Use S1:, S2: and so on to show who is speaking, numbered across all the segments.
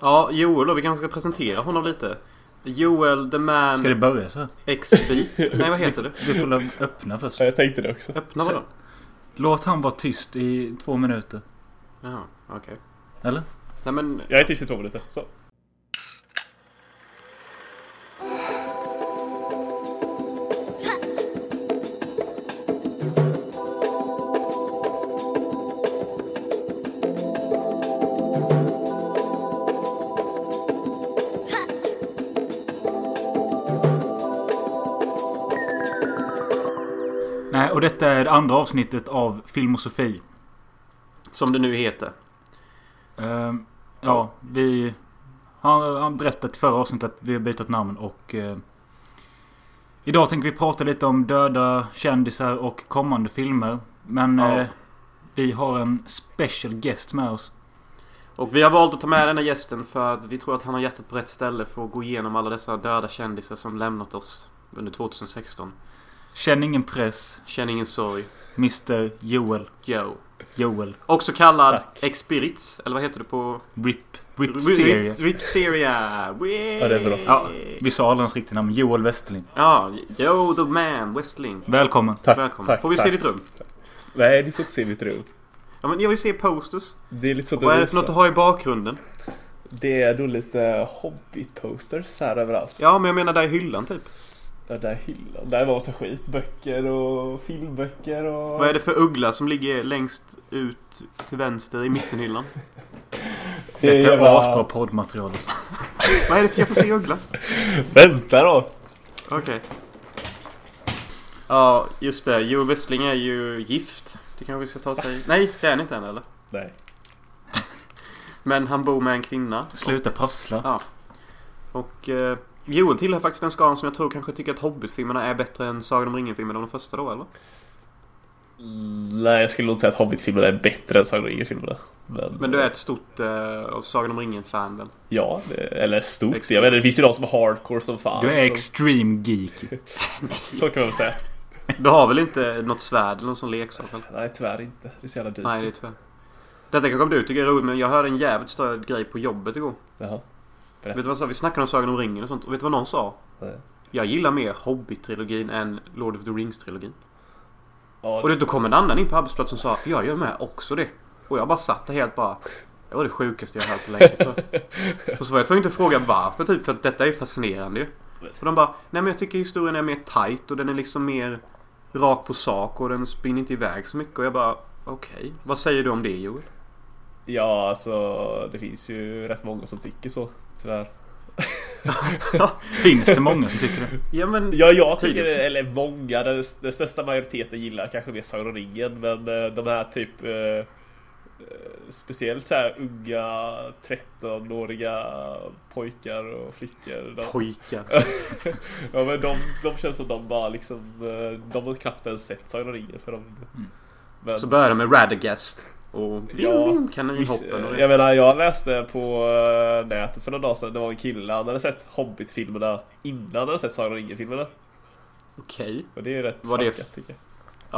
S1: Ja, Joel då. Vi kanske ska presentera honom lite. Joel the man
S2: Ska det börja så?
S1: X-bit. Nej, vad heter det?
S2: Du får väl öppna först.
S3: Ja, jag tänkte det också.
S1: Öppna
S2: Så-
S1: vadå?
S2: Låt han vara tyst i två minuter.
S1: Jaha, okej.
S2: Eller?
S1: Nej men...
S3: Jag är tyst i två minuter. Så.
S2: Nej, och detta är det andra avsnittet av Filmosofi.
S1: Som det nu heter.
S2: Ehm, ja, vi... Han, han berättade i förra avsnittet att vi har bytt namn och... Eh, idag tänker vi prata lite om döda kändisar och kommande filmer. Men
S1: Ja.
S2: eh, vi har en special guest med oss.
S1: Och vi har valt att ta med denna gästen för att vi tror att han har hjärtat på rätt ställe för att gå igenom alla dessa döda kändisar som lämnat oss under 2016.
S2: Känn ingen press,
S1: Känn ingen sorg.
S2: Mr Joel.
S1: Joe.
S2: Joel.
S1: Också kallad
S3: Tack.
S1: Expirits, eller vad heter det på...
S2: Rip. Rip serie.
S1: Ripseria!
S3: Ja, det är bra.
S2: Ja, vi sa aldrig hans riktiga namn. Joel Westerlind.
S1: Ja, Joe the man, Westling.
S2: Välkommen.
S3: Tack,
S1: Välkommen.
S3: tack.
S1: Får vi se
S3: tack.
S1: ditt rum?
S3: Nej, ni får inte se mitt rum.
S1: Ja, men jag vill se posters.
S3: Det är lite så att
S1: Vad är det för något du har i bakgrunden?
S3: Det är då lite Hobbit-posters här överallt.
S1: Ja, men jag menar där i hyllan typ.
S3: Den där hyllan, där var massa skit. Böcker och filmböcker och...
S1: Vad är det för uggla som ligger längst ut till vänster i mittenhyllan?
S3: Det är
S2: Detta är
S3: jävla-
S2: asbra poddmaterial. alltså.
S1: Vad är det för... Jag får se uggla.
S3: Vänta då!
S1: Okej. Ja, just det. Joel Westling är ju gift. Det kanske vi ska ta och säga. Nej, det är han inte än eller?
S3: Nej.
S1: Men han bor med en kvinna.
S2: Sluta prassla.
S1: Och eh, Joel tillhör faktiskt den skaran som jag tror kanske tycker att Hobbit-filmerna är bättre än Sagan om ringen-filmerna, de första då eller?
S3: Nej, jag skulle nog inte säga att Hobbit-filmerna är bättre än Sagan om ringen-filmerna. Men,
S1: Men du är ett stort eh, Sagan om ringen-fan väl?
S3: Ja, det, eller stort.
S1: Extreme.
S3: Jag vet inte, det finns ju de som är hardcore som fan.
S2: Du är
S3: så,
S2: extreme geek.
S3: så kan man väl säga.
S1: Du har väl inte något svärd eller någon sån leksak? Eller?
S3: Nej, tyvärr inte. Det är så jävla dyrt.
S1: Nej, det är tyvärr. Detta kanske du tycker är roligt, men jag hörde en jävligt störd grej på jobbet igår.
S3: Jaha.
S1: Vet du vad jag sa? Vi snackade om Sagan om ringen och sånt. Och vet du vad någon sa?
S3: Nej.
S1: Jag gillar mer Hobbit-trilogin än Lord of the Rings-trilogin.
S3: Ja,
S1: Och då kom en annan in på arbetsplatsen och sa Jag gör med också det. Och jag bara satt där helt bara Det var det sjukaste jag hört på länge tror jag. Och så var jag tvungen att fråga varför typ för att detta är ju fascinerande ju. Och de bara Nej men jag tycker historien är mer tight och den är liksom mer Rakt på sak och den spinner inte iväg så mycket och jag bara Okej, vad säger du om det Joel?
S3: ja, alltså det finns ju rätt många som tycker så. Tyvärr.
S2: Finns det många som tycker det?
S1: Ja men
S3: Ja, jag tycker,
S1: Tydligt.
S3: eller många, den, den största majoriteten gillar kanske mer Sagan om ringen. Men eh, de här typ eh, eh, Speciellt så här unga 13-åriga pojkar och flickor. De,
S1: pojkar
S3: ja, men de, de känns som de bara liksom eh, De har knappt ens sett Sagan om ringen för de men,
S1: Så börjar de med Radagast och
S3: Ja. Visst,
S1: kaninhoppen och
S3: eh,
S1: det.
S3: Jag menar, jag läste på eh, nätet för några dagar sedan. Det var en kille, han hade sett Hobbit-filmerna innan han hade sett Sagan om ringen-filmerna.
S1: Okej.
S3: Och det är ju rätt
S1: Vad det är
S3: fuckat, tycker jag.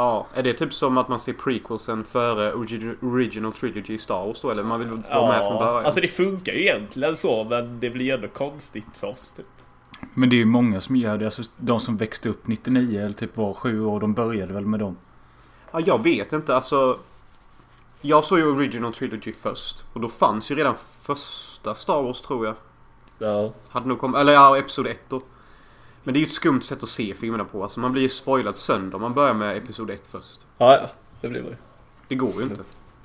S1: Ja, är det typ som att man ser prequelsen före origi- original trilogy i Star Wars då? Eller man vill vara med från början?
S3: alltså det funkar ju egentligen så, men det blir ju ändå konstigt för oss. Typ.
S2: Men det är ju många som gör det. Alltså, de som växte upp 99 eller typ var sju år. De började väl med dem.
S1: Ja, jag vet inte. Alltså... Jag såg ju original trilogy först. Och då fanns ju redan första Star Wars tror jag.
S3: Ja.
S1: Hade nog kommit... Eller ja, Episod 1 då. Men det är ju ett skumt sätt att se filmerna på. Alltså man blir ju spoilad sönder om man börjar med Episod 1 först.
S3: ja, det blir man ju.
S1: Det går ju inte.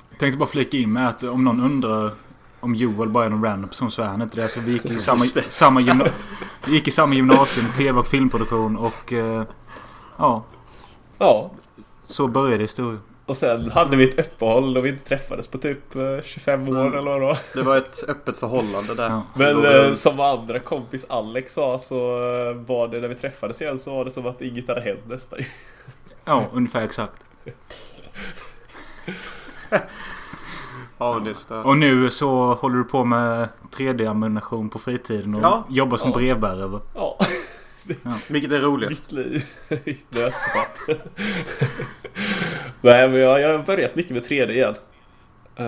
S2: Jag tänkte bara flika in med att om någon undrar om Joel bara är någon random person så är han inte det. Alltså, vi gick i samma, samma, gymna- vi gick i samma gymnasium, tv och filmproduktion och... Eh, ja,
S3: Ja,
S2: så började historien.
S3: och sen hade vi ett uppehåll då vi inte träffades på typ eh, 25 år
S1: Mm.
S3: eller vad det var.
S1: Det var ett öppet förhållande där.
S2: Ja.
S3: Men
S1: Då-
S3: eh, som vår andra kompis Alex sa så eh, var det när vi träffades igen så var det som att inget hade hänt nästan.
S2: Ja,
S3: eh,
S2: ungefär exakt.
S1: Ja, det stör.
S2: Och nu så håller du på med 3D-ammunition på fritiden och
S1: Ja.
S2: jobbar som
S3: Ja.
S2: brevbärare. va?
S3: Ja,
S1: Vilket är roligast.
S3: mitt liv i ett nötskal. Nej men jag, jag har börjat mycket med 3D igen. Eh,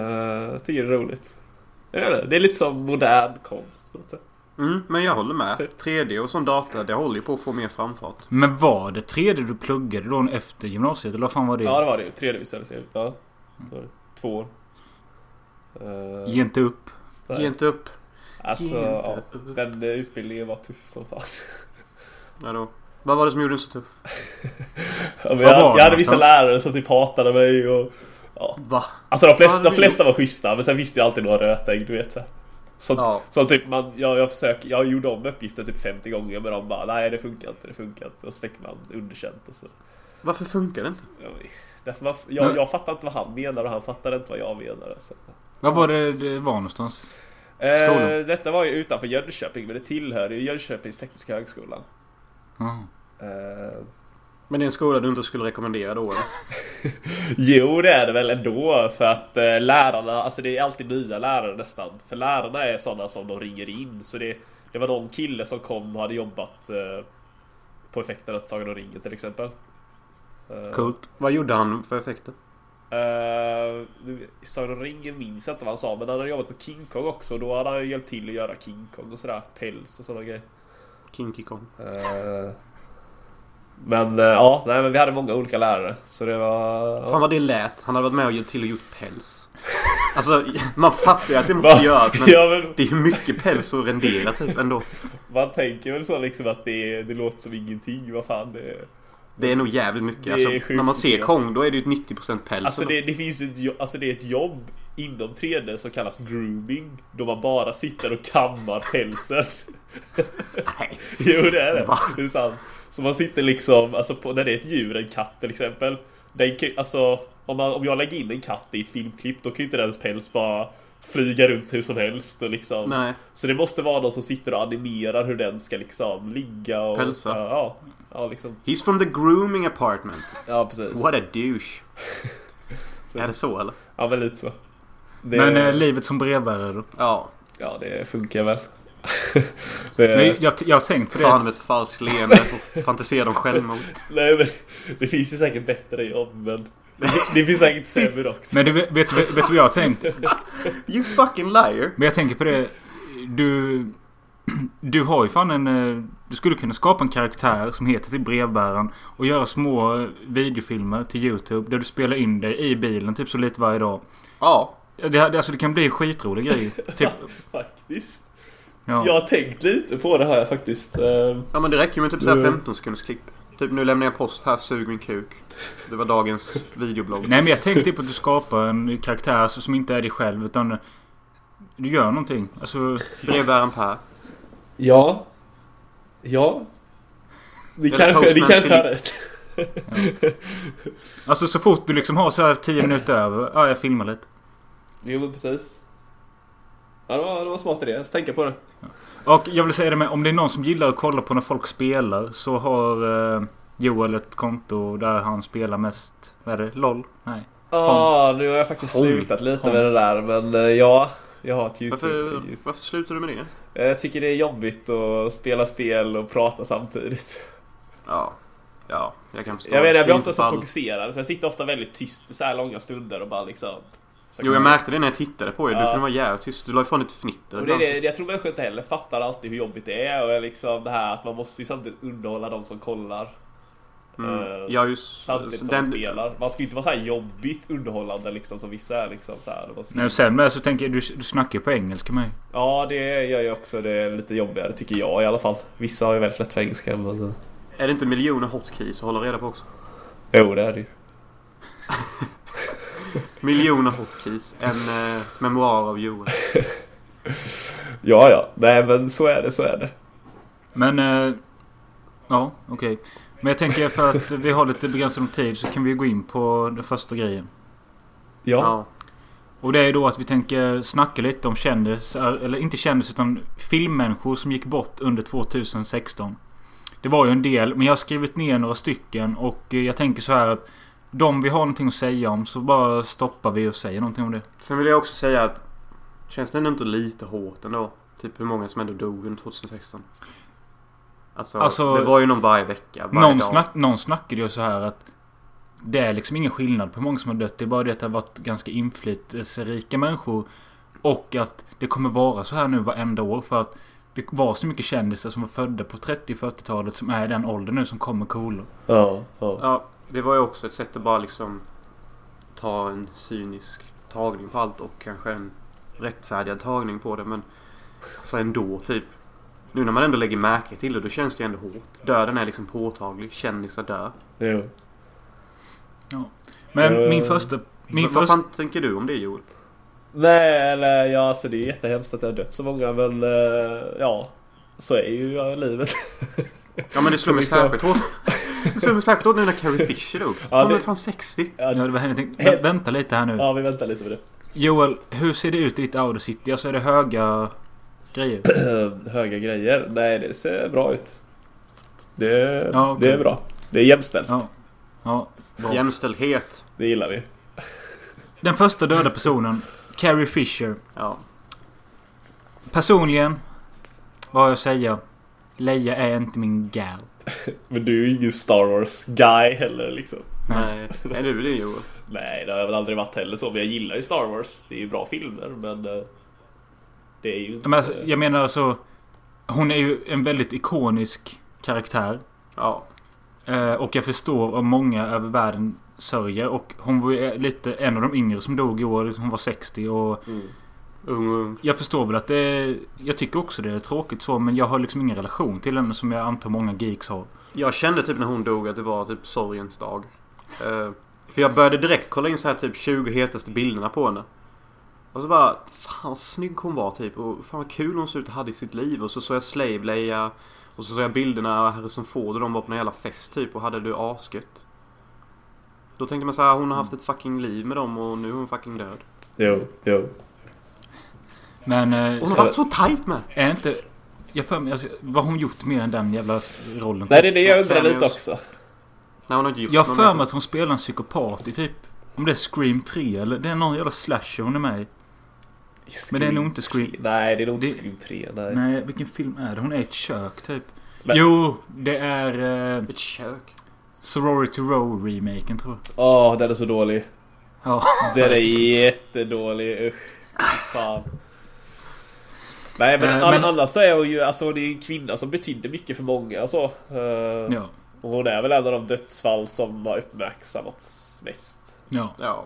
S3: Jag tycker det är roligt. Jag vet inte, Det är lite som modern konst på något sätt.
S1: Mm, men jag håller med.
S3: Typ.
S1: 3D och sån data, det håller ju på att få mer framfart.
S2: Men var det 3D du pluggade då efter gymnasiet? Eller vad fan var det?
S3: Ja, det var det ju. 3D-visualisering. Ja. det var det. Två år. Eh,
S2: Ge inte upp.
S3: där.
S1: Ge inte upp.
S3: alltså,
S1: Ge inte
S3: ja,
S1: upp.
S3: den eh, utbildningen var tuff som fan.
S1: Ja, då. Vad var det som gjorde den så tuff?
S3: Ja,
S2: Vad
S3: men
S2: var
S3: jag,
S2: det
S3: jag hade vissa
S2: någonstans?
S3: lärare som typ hatade mig och...
S1: Va?
S3: Alltså de
S1: Vad
S3: flesta,
S1: hade
S3: de
S1: vi
S3: flesta var schyssta men sen visste jag alltid några rötägg, du vet så. här. Så,
S1: Ja.
S3: så typ man, jag, jag försöker, jag gjorde om uppgiften typ 50 gånger men de bara nej det funkar inte, det funkar inte. Och så fick man underkänt och så.
S1: Varför funkar det inte?
S3: Ja, men- Därför man, jag,
S2: Men-
S3: jag fattar inte vad han menar och han fattar inte vad jag menar. Alltså.
S2: Vad var det det var någonstans?
S3: Eh,
S2: Skolan.
S3: detta var ju utanför Jönköping men det tillhör ju Jönköpings Tekniska Högskola.
S2: Ja.
S3: Eh,
S1: Men det är en skola du inte skulle rekommendera då eller?
S3: Jo, det är det väl ändå. För att eh, lärarna, alltså det är alltid nya lärare nästan. För lärarna är sådana som de ringer in. Så det, det var någon kille som kom och hade jobbat eh, på effekterna till Sagan om ringen till exempel. Eh,
S2: Coolt.
S1: Vad gjorde han för effekter?
S3: eh, nu- i Sagan om ringen minns jag inte vad han sa, men han hade jobbat på King Kong också. Och då hade han ju hjälpt till att göra King Kong och sådär. Päls och sådana grejer.
S1: Kinky Kong.
S3: Eh, men eh, ja, nej, men vi hade många olika lärare. Så det var...
S1: Fan vad det lät. Han hade varit med och hjälpt till och gjort päls. Alltså man fattar ju att det
S3: Va?
S1: måste göras men
S3: Ja, men-
S1: det är ju mycket päls att rendera typ ändå.
S3: Man tänker väl så liksom att det, det låter som ingenting, vad fan det är.
S1: Det är nog jävligt mycket.
S3: Det är
S1: Alltså,
S3: sjukt
S1: när man ser
S3: mycket.
S1: Kong då är det ju ett 90% päls.
S3: Alltså
S1: ändå.
S3: det, det finns ju ett, jo- alltså det är ett jobb inom 3D som kallas grooming. Då man bara sitter och kammar pälsen.
S1: Nej.
S3: Jo det är det,
S1: Va?
S3: det är sant. Så man sitter liksom, alltså på, när det är ett djur, en katt till exempel. Den kan, alltså, om, man, om jag lägger in en katt i ett filmklipp då kan ju inte dens päls bara flyga runt hur som helst och liksom.
S1: Nej.
S3: Så det måste vara någon som sitter och animerar hur den ska liksom ligga och...
S1: Pälsa.
S3: Ja, ja, ja liksom.
S1: He's from the grooming apartment.
S3: Ja precis.
S1: What a douche. Är det så eller?
S3: Ja men lite så. Det,
S2: Men eh, livet som brevbärare då?
S1: Ja.
S3: ja det funkar väl. det,
S2: Men jag, jag har tänkt på
S1: Sa han
S2: det.
S1: med ett falskt leende och fantiserade om självmord.
S3: nej, men, det finns ju säkert bättre jobb men det, det finns säkert sämre också.
S2: Men du, vet, vet, vet du vad jag har tänkt?
S1: You fucking liar.
S2: Men jag tänker på det. Du... Du har ju fan en... eh, Du skulle kunna skapa en karaktär som heter till brevbäraren. Och göra små eh, videofilmer till YouTube. Där du spelar in dig i bilen typ så lite varje dag.
S1: Ja.
S2: Ja, Det, alltså det kan bli skitrolig grej. Typ.
S3: Faktiskt. Jag
S2: Ja.
S3: har tänkt lite på det har jag faktiskt. Ehm,
S1: Ja men det räcker ju med typ såhär
S3: Mm.
S1: 15 sekunders klipp. Typ nu lämnar jag post här, sug min kuk. Det var dagens videoblogg.
S2: Nej men jag tänkte på att du skapar en karaktär alltså, som inte är dig själv utan... Du gör någonting. Alltså...
S1: Brevbäraren Per.
S3: Ja. Ja. Ni
S1: Eller
S3: kanske, ni
S1: Postman
S3: kanske har
S1: Philip.
S3: rätt.
S2: Alltså så fort du liksom har så här 10 minuter över. Ja, jag filmar lite.
S3: Jo men precis. Ja det var, det var en smart idé, jag ska tänka på det.
S2: Och jag vill säga det med, om det är någon som gillar att kolla på när folk spelar så har eh, Joel ett konto där han spelar mest, vad är det, LOL? Nej.
S3: Ja, nu har jag faktiskt
S2: Kom.
S3: slutat lite
S2: Kom.
S3: med det där men eh, ja. Jag har ett
S1: Varför,
S3: YouTube.
S1: varför slutar du med det?
S3: Eh, Jag tycker det är jobbigt att spela spel och prata samtidigt.
S1: Ja. Ja, jag kan förstå.
S3: Jag vet,
S1: Det är
S3: jag blir
S1: inte
S3: ofta så
S1: fall.
S3: fokuserad så jag sitter ofta väldigt tyst i så här långa stunder och bara liksom...
S1: Jo jag märkte det när jag tittade på dig. Du
S3: Ja.
S1: kunde vara jävligt tyst. Du la ifrån ditt fnitter.
S3: Och det är det, jag tror människor inte heller fattar alltid hur jobbigt det är och är liksom det här att man måste ju samtidigt underhålla de som kollar.
S1: Mm.
S3: Eh,
S1: Ja just
S3: Samtidigt som man
S1: den,
S3: spelar. Man ska ju inte vara så här jobbigt underhållande liksom som vissa är liksom så här. Och bara
S2: Nej,
S3: skriva.
S2: och sen med så tänker jag, du, du snackar ju på engelska med.
S3: Ja, det gör ju också det lite jobbigare tycker jag i alla fall. Vissa har ju väldigt lätt för engelska men...
S1: Är det inte miljoner hotkeys att hålla reda på också?
S3: Jo, det är det ju.
S1: Miljoner hotkeys. En eh, memoar av Joel.
S3: Ja, ja. Nej, men så är det, så är det.
S2: Men, eh, ja, okej. Men jag tänker för att vi har lite begränsad om tid så kan vi gå in på den första grejen.
S3: Ja.
S1: Ja.
S2: Och det är då att vi tänker snacka lite om kändisar, eller inte kändisar utan filmmänniskor som gick bort under 2016. Det var ju en del, men jag har skrivit ner några stycken och eh, jag tänker så här att de vi har någonting att säga om så bara stoppar vi och säger någonting om det.
S1: Sen vill jag också säga att känns det ändå inte lite hårt ändå? Typ hur många som ändå dog under 2016? Alltså,
S2: Alltså,
S1: det var ju någon varje vecka, varje
S2: Någon,
S1: dag.
S2: snack, någon snackade ju så här att det är liksom ingen skillnad på hur många som har dött. Det är bara det att det har varit ganska inflytelserika människor. Och att det kommer vara så här nu varenda år för att det var så mycket kändisar som var födda på 30-40-talet som är i den åldern nu som kommer coola.
S3: Ja, ja.
S1: Ja, det var ju också ett sätt att bara liksom ta en cynisk tagning på allt och kanske en rättfärdigad tagning på det. Men alltså ändå typ. Nu när man ändå lägger märke till det, då känns det ju ändå hårt. Döden är liksom påtaglig. Kändisar dör.
S3: Jo.
S2: Men
S3: Eh,
S2: min första...
S1: men
S2: Min
S1: vad
S2: första...
S1: fan tänker du om det Joel?
S3: Nej, eller ja, alltså det är jättehemskt att det har dött så många men eh, ja. Så är ju ja, livet.
S1: Ja men det slår mig
S3: Liksom.
S1: särskilt hårt. Det slår mig särskilt hårt nu när Carrie Fisher dog.
S3: Ja,
S1: Hon
S3: det-
S1: är fan 60.
S3: Ja,
S2: Ja,
S3: det-
S2: det var, jag tänkte, vä- vänta lite här nu.
S3: ja, vi väntar lite på det.
S2: Joel, hur ser det ut i ditt Audi City? Alltså är det höga grejer?
S3: Höga grejer. Nej, det ser bra ut. Det,
S2: Ja, okej.
S3: det är bra. Det är jämställt.
S2: Ja. Ja, bra.
S1: Jämställdhet.
S3: Det gillar vi.
S2: Den första döda personen, Carrie Fisher.
S1: Ja.
S2: Personligen, vad jag säger, Leia är inte min gal.
S3: Men du är ju ingen Star Wars guy heller liksom.
S1: Nej. Är du det Joel?
S3: Nej, det har jag väl aldrig varit heller så. Men jag gillar ju Star Wars. Det är ju bra filmer men... eh, Det är ju inte...
S2: Men alltså, jag menar alltså, hon är ju en väldigt ikonisk karaktär.
S1: Ja.
S2: Eh, Och jag förstår om många över världen sörjer. Och hon var ju eh, lite en av de yngre som dog i år. liksom Hon var 60 och
S3: Mm.
S1: Ung och ung.
S2: jag förstår väl att det är, Jag tycker också det är tråkigt så men jag har liksom ingen relation till henne som jag antar många geeks har.
S1: Jag kände typ när hon dog att det var typ sorgens dag. Eh, för jag började direkt kolla in så här typ 20 hetaste bilderna på henne. Och så bara, fan vad snygg hon var typ och fan vad kul hon såg ut och hade i sitt liv. Och så såg jag Slave Leia och så såg jag bilderna av Harrison Ford och de var på någon jävla fest typ och hade det asket. Då tänkte man så här, hon har haft ett fucking liv med dem och nu är hon fucking död.
S3: Jo, jo.
S2: Men... eh,
S1: Hon
S2: så-
S1: har varit så tajt med!
S2: Är inte... Jag för mig, alltså, vad har hon gjort mer än den jävla rollen?
S3: Nej, det är det jag
S1: Ja,
S3: undrar lite
S1: cameos.
S3: också.
S1: Nej hon har inte gjort
S2: jag har
S1: någon
S2: för
S1: mer.
S2: mig att hon spelar en psykopat i typ... Om det är Scream 3 eller det är någon jävla slasher hon är med i. Men det är nog inte Scream...
S3: Nej, det är nog inte
S2: Det-
S3: Scream 3. Nej.
S2: Nej, vilken film är det? Hon är i ett kök typ.
S3: Men-
S2: Jo, det är eh,
S1: Ett kök.
S2: Sorority Row-remaken tror jag.
S3: Åh, den är så dålig.
S2: Ja.
S3: Den är jättedålig. Usch, fy fan. Nej men,
S2: Eh,
S3: an-
S2: men-
S3: annars så är hon ju, alltså det är ju en kvinna som betydde mycket för många och så. Eh,
S2: Ja.
S3: Och hon är väl en av de dödsfall som har uppmärksammats mest
S2: ja.
S1: Ja,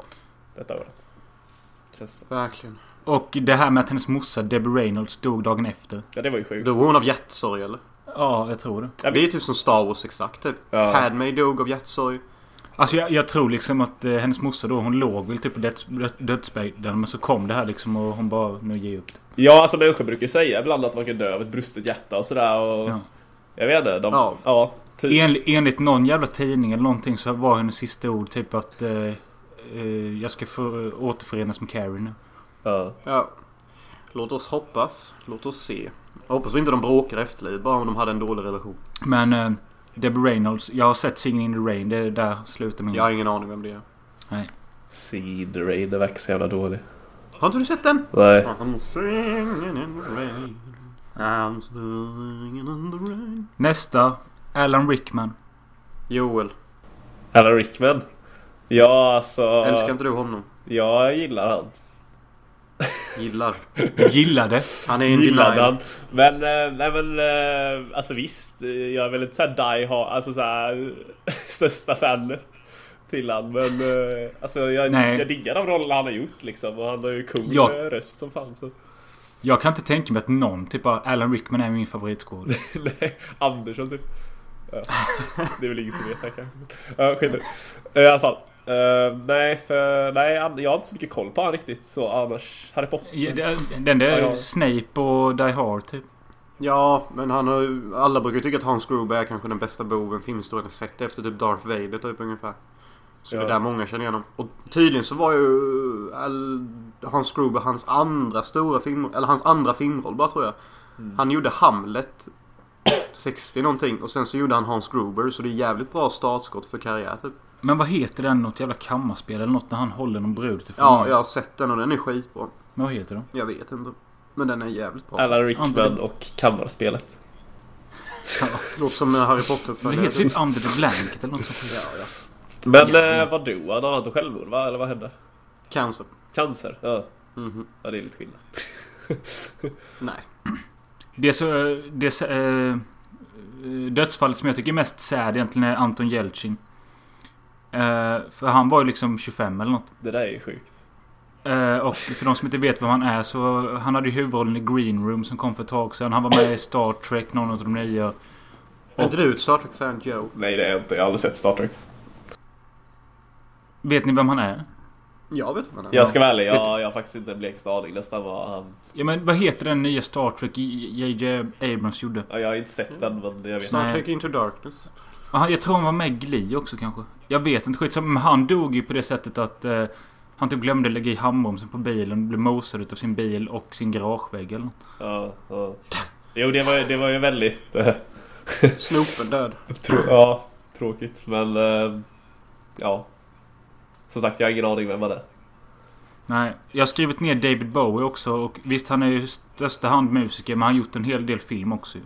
S3: detta året. Känns det som.
S1: verkligen.
S2: Och det här med att hennes morsa Debbie Reynolds dog dagen efter.
S3: Ja det var ju sjukt.
S1: Dog hon av hjärtsorg eller?
S2: Ja, jag tror det.
S3: Ja,
S1: Det är typ som Star Wars exakt typ.
S3: Ja.
S1: Padme dog av hjärtsorg.
S2: Alltså jag, jag tror liksom att eh, hennes morsa då, hon låg väl typ på döds, död- dödsbädden. Men så kom det här liksom och hon bara, nu ger jag upp.
S3: Ja alltså människor brukar ju säga ibland att man kan dö av ett brustet hjärta och sådär och...
S2: Ja.
S3: Jag vet inte, de...
S1: Ja.
S3: Ja. typ.
S2: En, enligt någon jävla tidning eller någonting så var hennes sista ord typ att eh, eh, jag ska få återförenas med Carrie nu.
S3: Ja.
S1: Ja. Låt oss hoppas. Låt oss se. Jag hoppas vi inte de bråkar efter livet. Bara om de hade en dålig relation.
S2: Men eh, Debbie Reynolds, jag har sett Singing in the Rain. Det är där slutar
S3: Mm.
S2: min...
S1: Jag har ingen aning vem det är.
S3: Seed Rain, den verkar så jävla dålig.
S1: Har inte du sett den?
S3: Nej.
S1: I'm singing in the rain. I'm singing in the rain.
S2: Nästa, Alan Rickman.
S1: Joel.
S3: Alan Rickman. Ja alltså.
S1: Älskar inte du honom?
S3: Jag gillar han.
S1: Gillar.
S2: Gillade.
S1: Han är en
S3: Gillar
S1: denial.
S3: han. Men, eh, nej men eh, alltså visst. eh, Jag är väl inte såhär die hard, alltså såhär största fanet till han. Men eh, alltså jag,
S2: Nej.
S3: jag diggar de roller han har gjort liksom. Och han har ju cool
S2: Ja.
S3: eh, röst som fan så.
S2: Jag kan inte tänka mig att någon, typ bara Alan Rickman är min favoritskådis.
S3: nej, Andersson typ. Ja. Det är väl ingen som vet här kanske. Ja, skit i det. Eh, I alla fall. Eh, nej, för, nej, an- jag har inte så mycket koll på han riktigt så annars. Harry Potter.
S2: Ja, det- Den där
S3: Ja, ja.
S2: Snape och Die Hard typ.
S1: Ja, men han har ju- Alla brukar tycka att Hans Gruber är kanske den bästa boven filmhistorien har sett efter typ Darth Vader typ ungefär. Så det
S3: Ja.
S1: är där många känner igen honom. Och tydligen så var ju Al- Hans Gruber hans andra stora film... Eller hans andra filmroll bara tror jag. Han gjorde Hamlet 60 någonting och sen så gjorde han Hans Gruber så det är jävligt bra startskott för karriär typ.
S2: Men vad heter den? Något jävla kammarspel eller något när han håller någon brud till
S1: Ja,
S2: fången?
S1: jag har sett den och den är skitbra.
S2: Men vad heter den?
S1: Jag vet inte. Men den är jävligt bra.
S3: Alan
S2: Under
S3: Rickman
S2: the-
S3: och Kammarspelet.
S1: Låter som en Harry
S2: Det
S1: Potter-uppföljare.
S2: heter
S1: typ.
S2: typ Under the Blanket eller något sånt.
S1: Ja, ja.
S3: Men
S2: Ja.
S3: eh, vad dog han? Han tog självmord va? Eller vad hände?
S1: Cancer.
S3: Cancer? Ja.
S1: Mhm.
S3: Ja, det är lite skillnad.
S1: Nej.
S2: Det, så, det eh, dödsfallet som jag tycker är mest sad egentligen är Anton Jeltsin. Eh, för han var ju liksom 25 eller något.
S3: Det där är ju sjukt.
S2: Eh, och för de som inte vet vem han är så han hade ju huvudrollen i Green Room som kom för ett tag sedan. Han var med i Star Trek, någon av de nya.
S1: Är inte du ett Star Trek-fan Joe?
S3: Nej, det är jag inte. Jag har aldrig sett Star Trek.
S2: Vet ni vem han är?
S1: Jag vet vad han är.
S3: Jag ska vara ärlig, jag, jag har faktiskt inte en blekaste aning nästan vad han...
S2: Ja men vad heter den nya Star Trek JJ Abrams gjorde?
S3: Ja, jag har inte sett den, men jag vet.
S1: Star
S2: Nej.
S1: Trek Into Darkness.
S2: Aha, jag tror han var med i Glee också kanske. Jag vet inte. Skitsamma. Men han dog ju på det sättet att eh, han typ glömde lägga i handbromsen på bilen. Blev mosad utav sin bil och sin garagevägg eller något.
S3: Ja, ja. Jo, det var, ju- det var ju väldigt... eh,
S1: Snoopen död.
S3: Trå- ja, tråkigt. Men eh, ja. Som sagt, jag har ingen aning vem han är.
S2: Nej, jag har skrivit ner David Bowie också. Och visst, han är ju största handmusiker. Men han har gjort en hel del film också ju.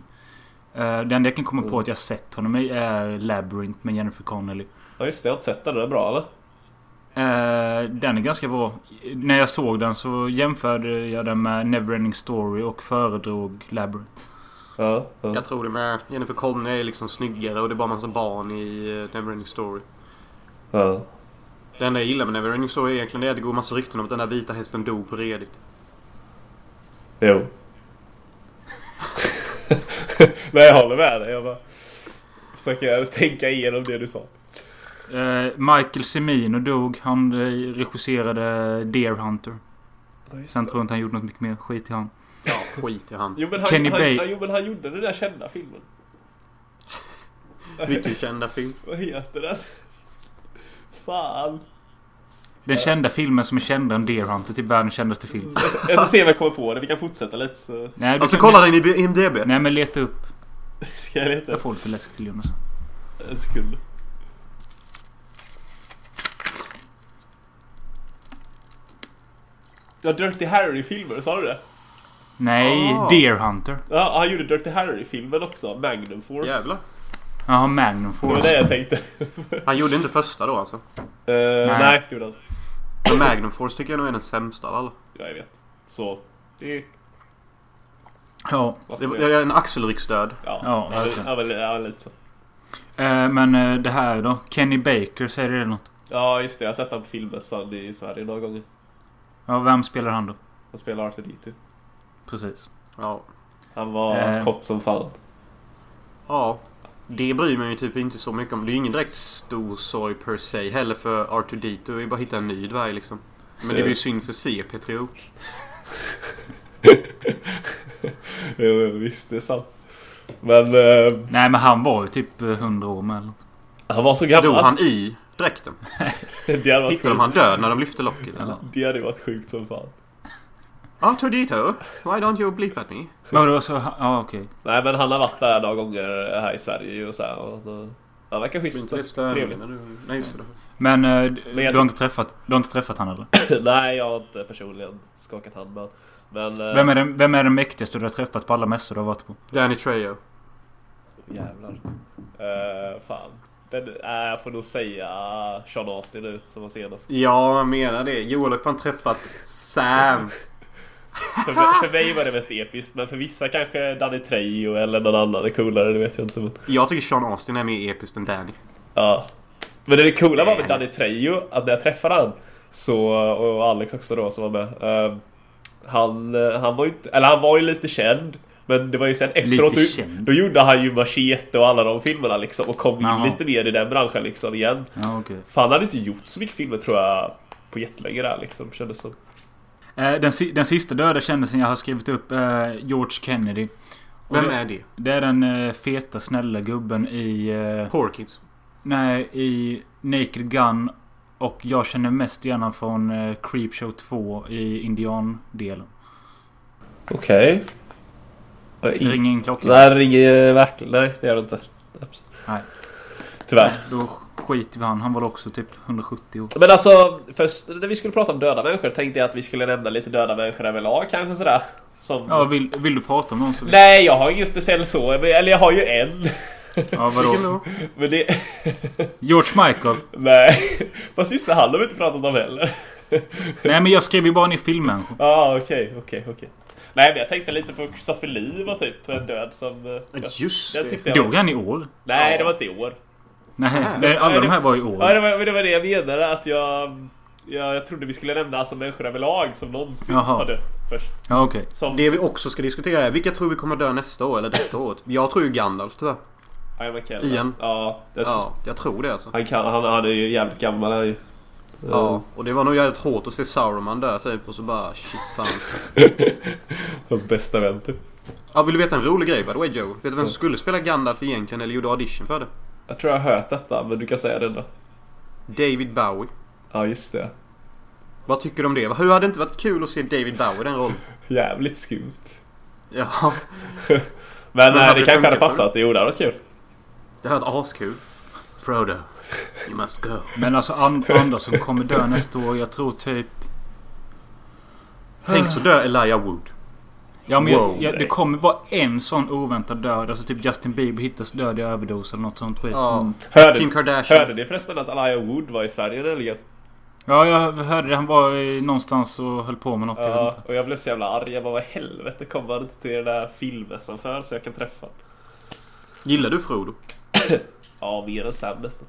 S2: Eh, det enda jag kan komma på att jag har sett honom i är Labyrinth med Jennifer Connelly.
S3: Ja, just det. Jag har inte sett den. Den är bra, eller?
S2: Eh, den är ganska bra. När jag såg den så jämförde jag den med Neverending Story och föredrog Labyrinth.
S3: Ja. ja.
S1: Jag tror det med. Jennifer Connelly är liksom snyggare och det är bara massa barn i eh, Neverending Story.
S3: ja.
S1: Det enda jag gillar med Neverending Story är egentligen det att det går massa rykten om att den där vita hästen dog på redigt.
S3: Jo. Nej, jag håller med dig. Jag bara försöker tänka igenom det du sa.
S2: Eh, Michael Cimino dog. Han eh, regisserade Deer Hunter.
S3: Ja, just
S2: Sen
S3: det.
S2: tror jag inte han gjorde något mycket mer skit i han.
S1: Ja, skit i han.
S3: Jo men han,
S2: Kenny
S3: han,
S2: Bay-
S3: ja, jo, men han gjorde den där kända filmen.
S1: Vilken kända film.
S3: Vad heter den? Fan.
S2: Den kända filmen som är kändare än Deer Hunter. Typ världens kändaste film.
S3: Jag ska, jag ska se om jag kommer på det. Vi kan fortsätta lite så
S2: Nej, du
S1: Alltså
S2: kan-
S1: kolla den i IMDB.
S2: Nej men leta upp.
S3: ska jag leta
S2: Jag får lite läsk till Jonas.
S3: en sekund. Ja, Dirty Harry-filmer, sa du det?
S2: Nej,
S1: Ah.
S2: Deer Hunter.
S3: Ja, han gjorde Dirty Harry-filmen också. Magnum Force.
S1: Jävlar.
S2: Jaha, Magnum
S3: Det var
S2: Force.
S3: det jag tänkte.
S1: Han gjorde inte första då alltså.
S3: Eh,
S2: Nej.
S3: nej, det gjorde han inte.
S1: Men Magnum Force tycker jag nog är den sämsta av alla.
S3: Ja, jag vet. Så, det...
S2: Ja.
S3: Vad
S1: Det
S3: ska
S1: var-
S3: man
S1: Jag
S3: göra?
S1: är en axelrycksdöd.
S3: Ja,
S2: Ja,
S3: ja, ja,
S2: verkligen.
S3: ja, väl- ja, lite så.
S2: Eh, men eh, det här då? Kenny Baker, säger det något?
S3: Ja, just det. Jag har sett honom på filmbössan i Sverige några gånger.
S2: Ja, vem spelar han då?
S3: Han spelar R2D2.
S2: Precis.
S1: Ja.
S3: Han var
S2: Eh.
S3: kort som fan.
S1: Ja. Det bryr mig ju typ inte så mycket om. Det är ju ingen direkt stor sorg per se heller för R2D2. Det är ju bara att hitta en ny dvärg liksom. Men det är ju synd för CP3O.
S3: Jo, jo, visst, det är sant. Men eh,
S2: Nej, men han var ju typ eh, 100 år med eller något.
S3: han var så
S1: Dog
S3: gammal.
S1: han i dräkten?
S3: Det hade varit
S1: Hittade de
S3: sjukt.
S1: han död när de lyfte locket eller?
S3: Det hade varit sjukt som fan.
S1: R2D2? Why don't you bleep at me?
S2: Men vadå, så... han- Ja, okej.
S3: Nej, men han har varit där några gånger här i Sverige ju och så här. Och så. Han verkar schysst. och Trevlig.
S1: Nej just det.
S2: Men, eh, d-
S3: Men jag
S2: du, har inte träffat, du har inte träffat han eller?
S3: Nej, jag har inte personligen skakat hand med honom. Men... eh,
S2: Vem är, den, vem är den mäktigaste du har träffat på alla mässor du har varit på?
S1: Danny Trejo.
S3: Jävlar. Eh, fan. Den, eh, jag får nog säga Sean Astin nu som var senast.
S1: Ja, jag menar det. Joel har fan träffat Sam.
S3: För, för, för mig var det mest episkt men för vissa kanske Danny Trejo eller någon annan är coolare, det vet jag inte. Men,
S1: Jag tycker Sean Austin är mer episk än Danny.
S3: ja. men det coola var med Danny Trejo att när jag träffade han så, och Alex också då som var med. eh, han, eh, han var ju inte, eller han var ju lite känd. Men det var ju sen efteråt,
S2: Lite
S3: då,
S2: känd.
S3: då gjorde han ju Machete och alla de filmerna liksom och kom
S2: Jaha.
S3: in lite mer i den branschen liksom igen.
S2: Ja, okej.
S3: Fan, han hade inte gjort så mycket filmer tror jag på jättelänge där liksom, kändes som.
S2: Eh, den, si- den sista döda kändisen jag har skrivit upp är George Kennedy. Och
S1: Vem
S2: det,
S1: är det?
S2: det är den eh, feta snälla gubben i... Eh,
S1: Porkids.
S2: nej, i Naked Gun. Och jag känner mest igen honom från eh, Creepshow 2 i Indian-delen.
S3: Okej.
S2: Det ringer ingen klocka.
S3: Mm. Nej, det ringer verkligen. Nej, det gör det inte.
S2: Nej.
S3: Tyvärr.
S2: Då skiter vi i han. Han var också typ 170 år.
S3: Men alltså, först när vi skulle prata om döda människor tänkte jag att vi skulle nämna lite döda människor överlag kanske sådär. Som...
S2: Ja, vill, vill du prata om någon så...
S3: Nej, jag har ingen speciell så. Eller jag har ju en.
S2: Ja, vadå?
S3: Men det...
S2: George Michael.
S3: Nej. Fast just det, han har vi inte pratat om heller.
S2: Nej men jag skriver ju bara ner filmmänniskor.
S3: Ja, okej, okej, okej. Nej, men jag tänkte lite på Christopher Lee var typ en död som... eh, jag-
S1: Just
S3: jag
S1: det.
S3: tyckte jag
S2: Dog
S3: var,
S2: han i år?
S3: Nej, det var inte i år.
S2: Nej, det- alla de här var i
S3: Ja,
S2: år.
S3: det var, det var det jag menade. Att jag, jag, jag trodde vi skulle nämna alltså människor överlag som någonsin
S2: Jaha.
S3: har dött först.
S2: Ja okej.
S3: Som...
S1: Det vi också ska diskutera är vilka tror vi kommer dö nästa år eller detta året? Jag tror ju Gandalf tyvärr.
S3: Ian McKellen.
S1: Ian.
S3: Ja, det,
S1: Ja, jag tror det alltså.
S3: Han, kan, han, han är ju jävligt gammal. Han är ju.
S1: Ja, och det var nog jävligt hårt att se Sauron dö typ och så bara shit fan.
S3: Eh. Hans bästa vän typ.
S1: Ja, vill du veta en rolig grej by the way Joe? Vet du vem som skulle spela Gandalf egentligen eller gjorde audition för det?
S3: Jag tror jag har hört detta, men du kan säga det ändå.
S1: David Bowie.
S3: Ja, just det.
S1: Vad tycker du om det? Hur hade det inte varit kul att se David Bowie i den rollen?
S3: Jävligt skumt.
S1: Ja,
S3: Men,
S1: Men
S3: eh,
S1: hade
S3: det
S1: det
S3: kanske hade
S1: funkat,
S3: passat. Jo, det hade varit kul.
S1: det hade varit askul. Frodo, you must go.
S2: Men alltså and- andra som kommer dö nästa år. Jag tror typ...
S1: Tänk så dö Elijah Wood.
S2: Ja men jag,
S1: Wow.
S2: jag, det kommer bara en sån oväntad död. Alltså typ Justin Bieber hittas död i överdos eller något sånt skit. Mm.
S1: Ja.
S3: Hörde,
S1: Kim Kardashian.
S3: hörde ni förresten att Elijah Wood var i Sverige nyligen?
S2: Ja, jag hörde det. Han var i, någonstans och höll på med något. Jag vet
S3: Ja,
S2: inte.
S3: och jag blev så jävla arg. Jag bara, vad i helvete kommer han inte till den där filmmässan för så jag kan träffa honom?
S1: Gillar du Frodo?
S3: Ja, mer än Sam nästan.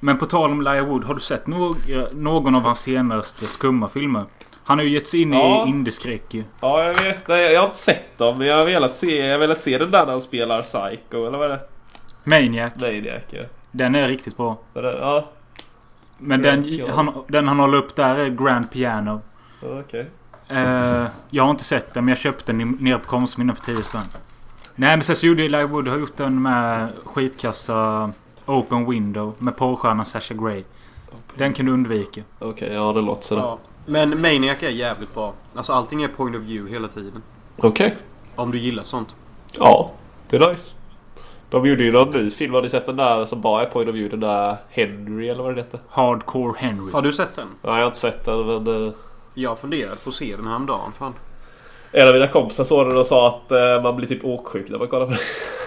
S2: Men på tal om Elijah Wood. Har du sett no- någon av hans senaste skumma filmer? Han har ju gett sig in
S3: Ja.
S2: i indieskräck ju.
S3: Ja, jag vet. Nej, jag har inte sett dem, men jag har velat se, jag har velat se den där när han spelar Psycho, eller vad är det?
S2: Maniac.
S3: Maniac, ja.
S2: Den är riktigt bra.
S3: Den där- Ja,
S2: Men
S3: Grand
S2: den
S3: Piano.
S2: han, den han håller upp där är Grand Piano.
S3: ja, okej.
S2: Eh, jag har inte sett den men jag köpte den i- nere på Konsum innan för 10 spänn. Nej men sen så gjorde Elijah Wood har gjort den med skitkassa Open Window med porrstjärnan Sasha Grey. Den kan du undvika.
S3: Okej, ja det låter sådär.
S1: Ja. Men Maniac är jävligt bra. Alltså allting är point of view hela tiden.
S3: Okej.
S1: Om du gillar sånt.
S3: Ja, det är nice. De gjorde ju någon ny film. Har ni sett den där som bara är point of view? Den där Henry eller vad den hette?
S2: Hardcore Henry.
S1: Har du sett den?
S3: Nej, jag har inte sett den men... eh,
S1: Jag funderade på att se den häromdagen. Fan.
S3: En av mina kompisar såg den och sa att eh, man blir typ åksjuk när man kollar på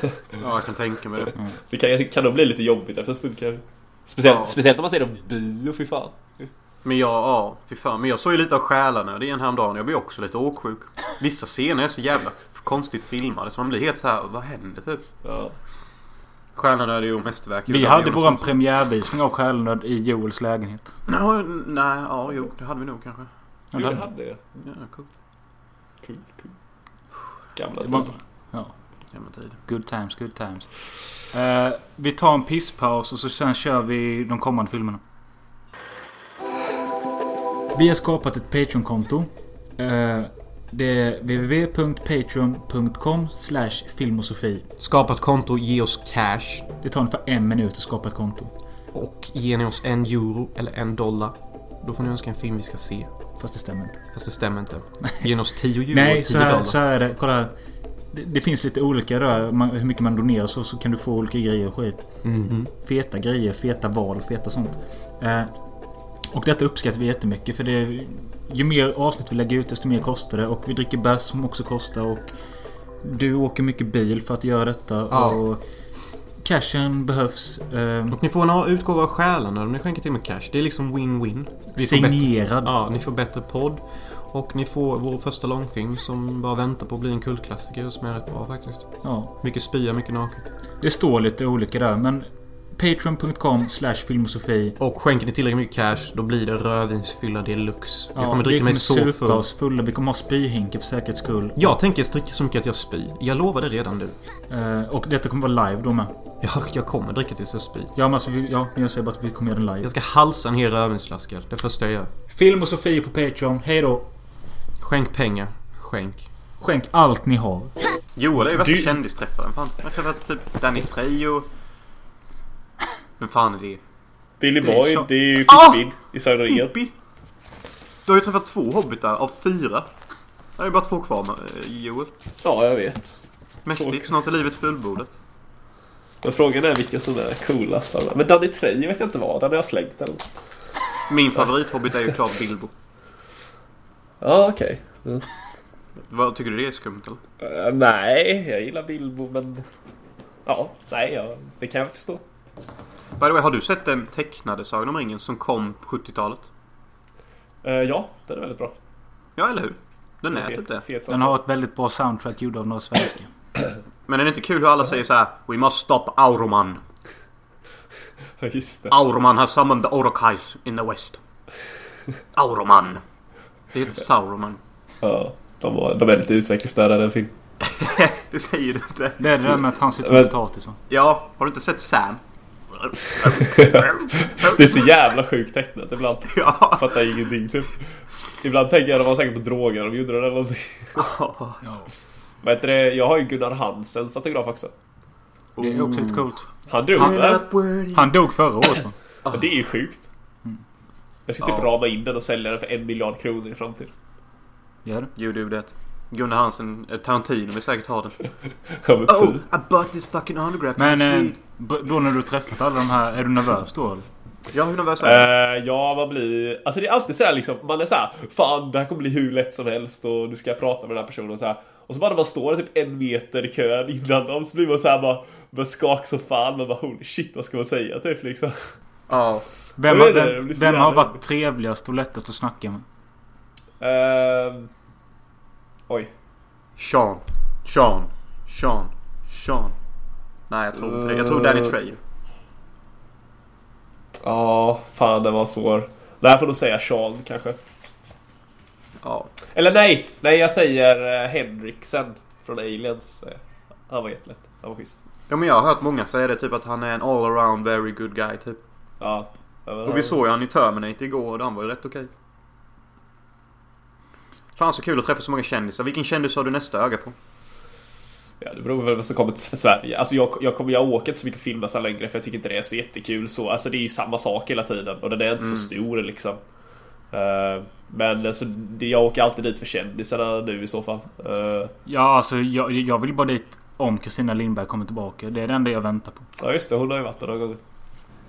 S3: den.
S1: Ja, jag kan tänka mig det.
S3: Det kan, kan nog bli lite jobbigt efter en stund kanske. Speciellt,
S1: Ja.
S3: speciellt om man ser den bio, fy fan.
S1: Men jag, ja, fy fan. Men jag såg ju lite av Själarna. Det är en häromdagen. Jag blir också lite åksjuk. Vissa scener är så jävla f- konstigt filmade så man blir helt så här, vad händer typ?
S3: Ja.
S1: Stjärnorna är ju mästerverk.
S2: Vi
S1: utan
S2: hade
S1: Jonas
S2: våran
S1: Olsson.
S2: premiärvisning av Självnöd i Joels lägenhet.
S1: Ja, nej, ja, jo, det hade vi nog kanske.
S2: Ja,
S3: Jo, det
S2: den-
S3: hade jag.
S1: Ja, cool.
S3: Kul, kul. Gamla
S2: det var-
S3: tider.
S1: Jävla tid.
S2: Good times, good times. Eh, vi tar en pisspaus och så sen kör vi de kommande filmerna. Vi har skapat ett Patreon-konto. Eh, det är www.patreon.com filmosofi.
S1: Skapa ett konto, ge oss cash.
S2: Det tar ungefär en minut att skapa ett konto.
S1: Och ger ni oss en euro eller en dollar, då får ni önska en film vi ska se.
S2: Fast det stämmer inte.
S1: Fast det stämmer inte. Ger ni oss 10 euro
S2: Nej,
S1: och
S2: så
S1: 10
S2: här,
S1: dollar.
S2: så här är det. Kolla här. Det, det finns lite olika där. Man, hur mycket man donerar och så, så kan du få olika grejer och skit.
S1: Mhm.
S2: feta grejer, feta val, feta sånt. Eh, och detta uppskattar vi jättemycket för det... Ju mer avsnitt vi lägger ut desto mer kostar det och vi dricker bärs som också kostar och... Du åker mycket bil för att göra detta
S1: Ja.
S2: och... Cashen behövs. Eh,
S1: Och ni får en utgåva av Själarna om ni skänker till med cash. Det är liksom win-win. Vi får bättre-
S2: signerad.
S1: Ja, ni får bättre podd. Och ni får vår första långfilm som bara väntar på att bli en kultklassiker och som är rätt bra faktiskt.
S2: Ja.
S1: Mycket spya, mycket naket.
S2: Det står lite olika där men... Patreon.com slash filmosofi.
S1: Och skänker ni tillräckligt mycket cash, då blir det rödvinsfylla deluxe. Jag
S2: Ja,
S1: kommer dricka mig så
S2: supa
S1: full.
S2: oss fulla. Vi kommer ha spyhinkar för säkerhets skull.
S1: Jag tänker dricka så mycket att jag spyr. Jag lovar det redan nu.
S2: Eh, och detta kommer vara live då med.
S1: Jag, jag kommer dricka tills jag spyr.
S2: Ja men alltså, vi, ja, men jag säger bara att vi kommer göra den live.
S1: Jag ska halsa en hel rödvinsflaska. Det första jag gör.
S2: Film och Sofie på Patreon. Hej då.
S1: Skänk pengar. Skänk.
S2: Skänk allt ni har.
S1: Joel är ju
S3: värsta
S1: värsta kändisträffaren. Fan. Jag har träffat typ Danny Trejo. Vem fan är det?
S3: Billy
S2: är
S3: Boy,
S2: så-
S3: det är ju
S1: Ah!
S3: Pippin i Sagan om ringen.
S1: Pippi! Du har ju träffat två hobbitar av fyra. Det är ju bara två kvar med Joel.
S3: Ja, jag vet. Tråkigt.
S1: Mäktigt, snart är livet fullbordat.
S3: Men frågan är vilken som är coolast av dem. Men Danny Trejo vet jag inte vad. Den har jag slängt den.
S1: Min favorithobbit är ju klart Bilbo.
S3: Ja, okej. Mm.
S1: Vad Tycker du det är skumt eller?
S3: Eh, nej, jag gillar Bilbo, men... Ja, nej, ja, det kan jag förstå.
S1: By the way, har du sett den tecknade Sagan om ringen som kom på 70-talet?
S3: Eh, ja, den är väldigt bra.
S1: Ja, eller hur? Den är
S3: Fet-
S1: typ det.
S3: fet
S2: Den har ett väldigt bra soundtrack gjord av några svenskar.
S1: Men är det inte kul hur alla säger så här We must stop Auroman.
S3: Ja, Just det.
S1: Auroman has summoned the Orokais in the west. Auroman. Det heter Sauroman.
S3: Ja, de, var, de är lite utvecklingsstörda den film.
S1: Det säger du inte.
S2: Det är det där med att han sitter
S3: Men-
S2: och potatis va?
S1: Ja, har du inte sett Sam?
S3: Det är så jävla sjukt tecknat ibland.
S1: Ja.
S3: Fattar ingenting typ. Ibland tänker jag att de var säkert på droger de gjorde det eller någonting.
S2: Ja.
S3: Vad heter det? Jag har ju Gunnar Hansens autograf också.
S2: Det är också lite coolt.
S3: Han dog
S1: Han-
S3: va?
S2: Han dog förra året va?
S3: Ja, Det är ju sjukt.
S1: Mm.
S3: Jag ska typ
S1: Ja.
S3: rama in den och sälja den för en miljard kronor i framtiden.
S2: Gör det?
S1: Gör du det? Gunnar Hansen, eh, Tarantino vill säkert ha den.
S3: Ja, men
S1: Oh,
S3: typ.
S1: I bought this fucking autograph from
S2: Men
S1: a
S2: eh,
S1: Swede.
S2: b- då när du träffat alla de här, är du nervös då eller?
S1: Ja, hur nervös är du?
S3: Eh, ja, man blir... Alltså det är alltid sådär liksom, man är såhär Fan, det här kommer bli hur lätt som helst och du ska prata med den här personen och så här. Och så bara när man står typ en meter i kön innan dem så blir man såhär bara Börjar skaka som fan, man bara holy shit vad ska man säga typ liksom
S1: Ja.
S2: Vem,
S3: Jag
S2: har-
S3: vet inte, jag
S2: vem,
S3: blir så
S2: vem har
S3: jävla-
S2: varit trevligast och lättast att snacka med?
S3: Ehm, Oj
S1: Sean. Sean. Sean. Sean. Nej, jag tror inte det. Jag tror Danny Trejo.
S3: Ja, fan den var svår Nej, jag får nog säga Sean kanske
S1: Ja.
S3: Eller nej, nej jag säger eh, Henriksen från Aliens säger jag. Han var jättelätt, han var schysst
S1: Ja, men jag har hört många säga det. Typ att han är en all around very good guy, typ.
S3: Ja Ja, men
S1: Och vi
S3: han-
S1: såg ju han i Terminator igår och han var ju rätt okej. Fan så kul att träffa så många kändisar. Vilken kändis har du nästa öga på?
S3: Ja, det beror väl på vad som kommer till Sverige. Alltså jag, jag, kommer, jag åker inte så mycket filmer sen längre för jag tycker inte det är så jättekul så. Alltså det är ju samma sak hela tiden och den är inte
S1: Mm.
S3: så stor liksom. Eh, men alltså, det, jag åker alltid dit för kändisarna nu i så fall. Eh,
S2: Ja alltså jag, jag vill bara dit om Kristina Lindberg kommer tillbaka. Det är det enda jag väntar på.
S3: ja just det, hon har ju varit där några gånger.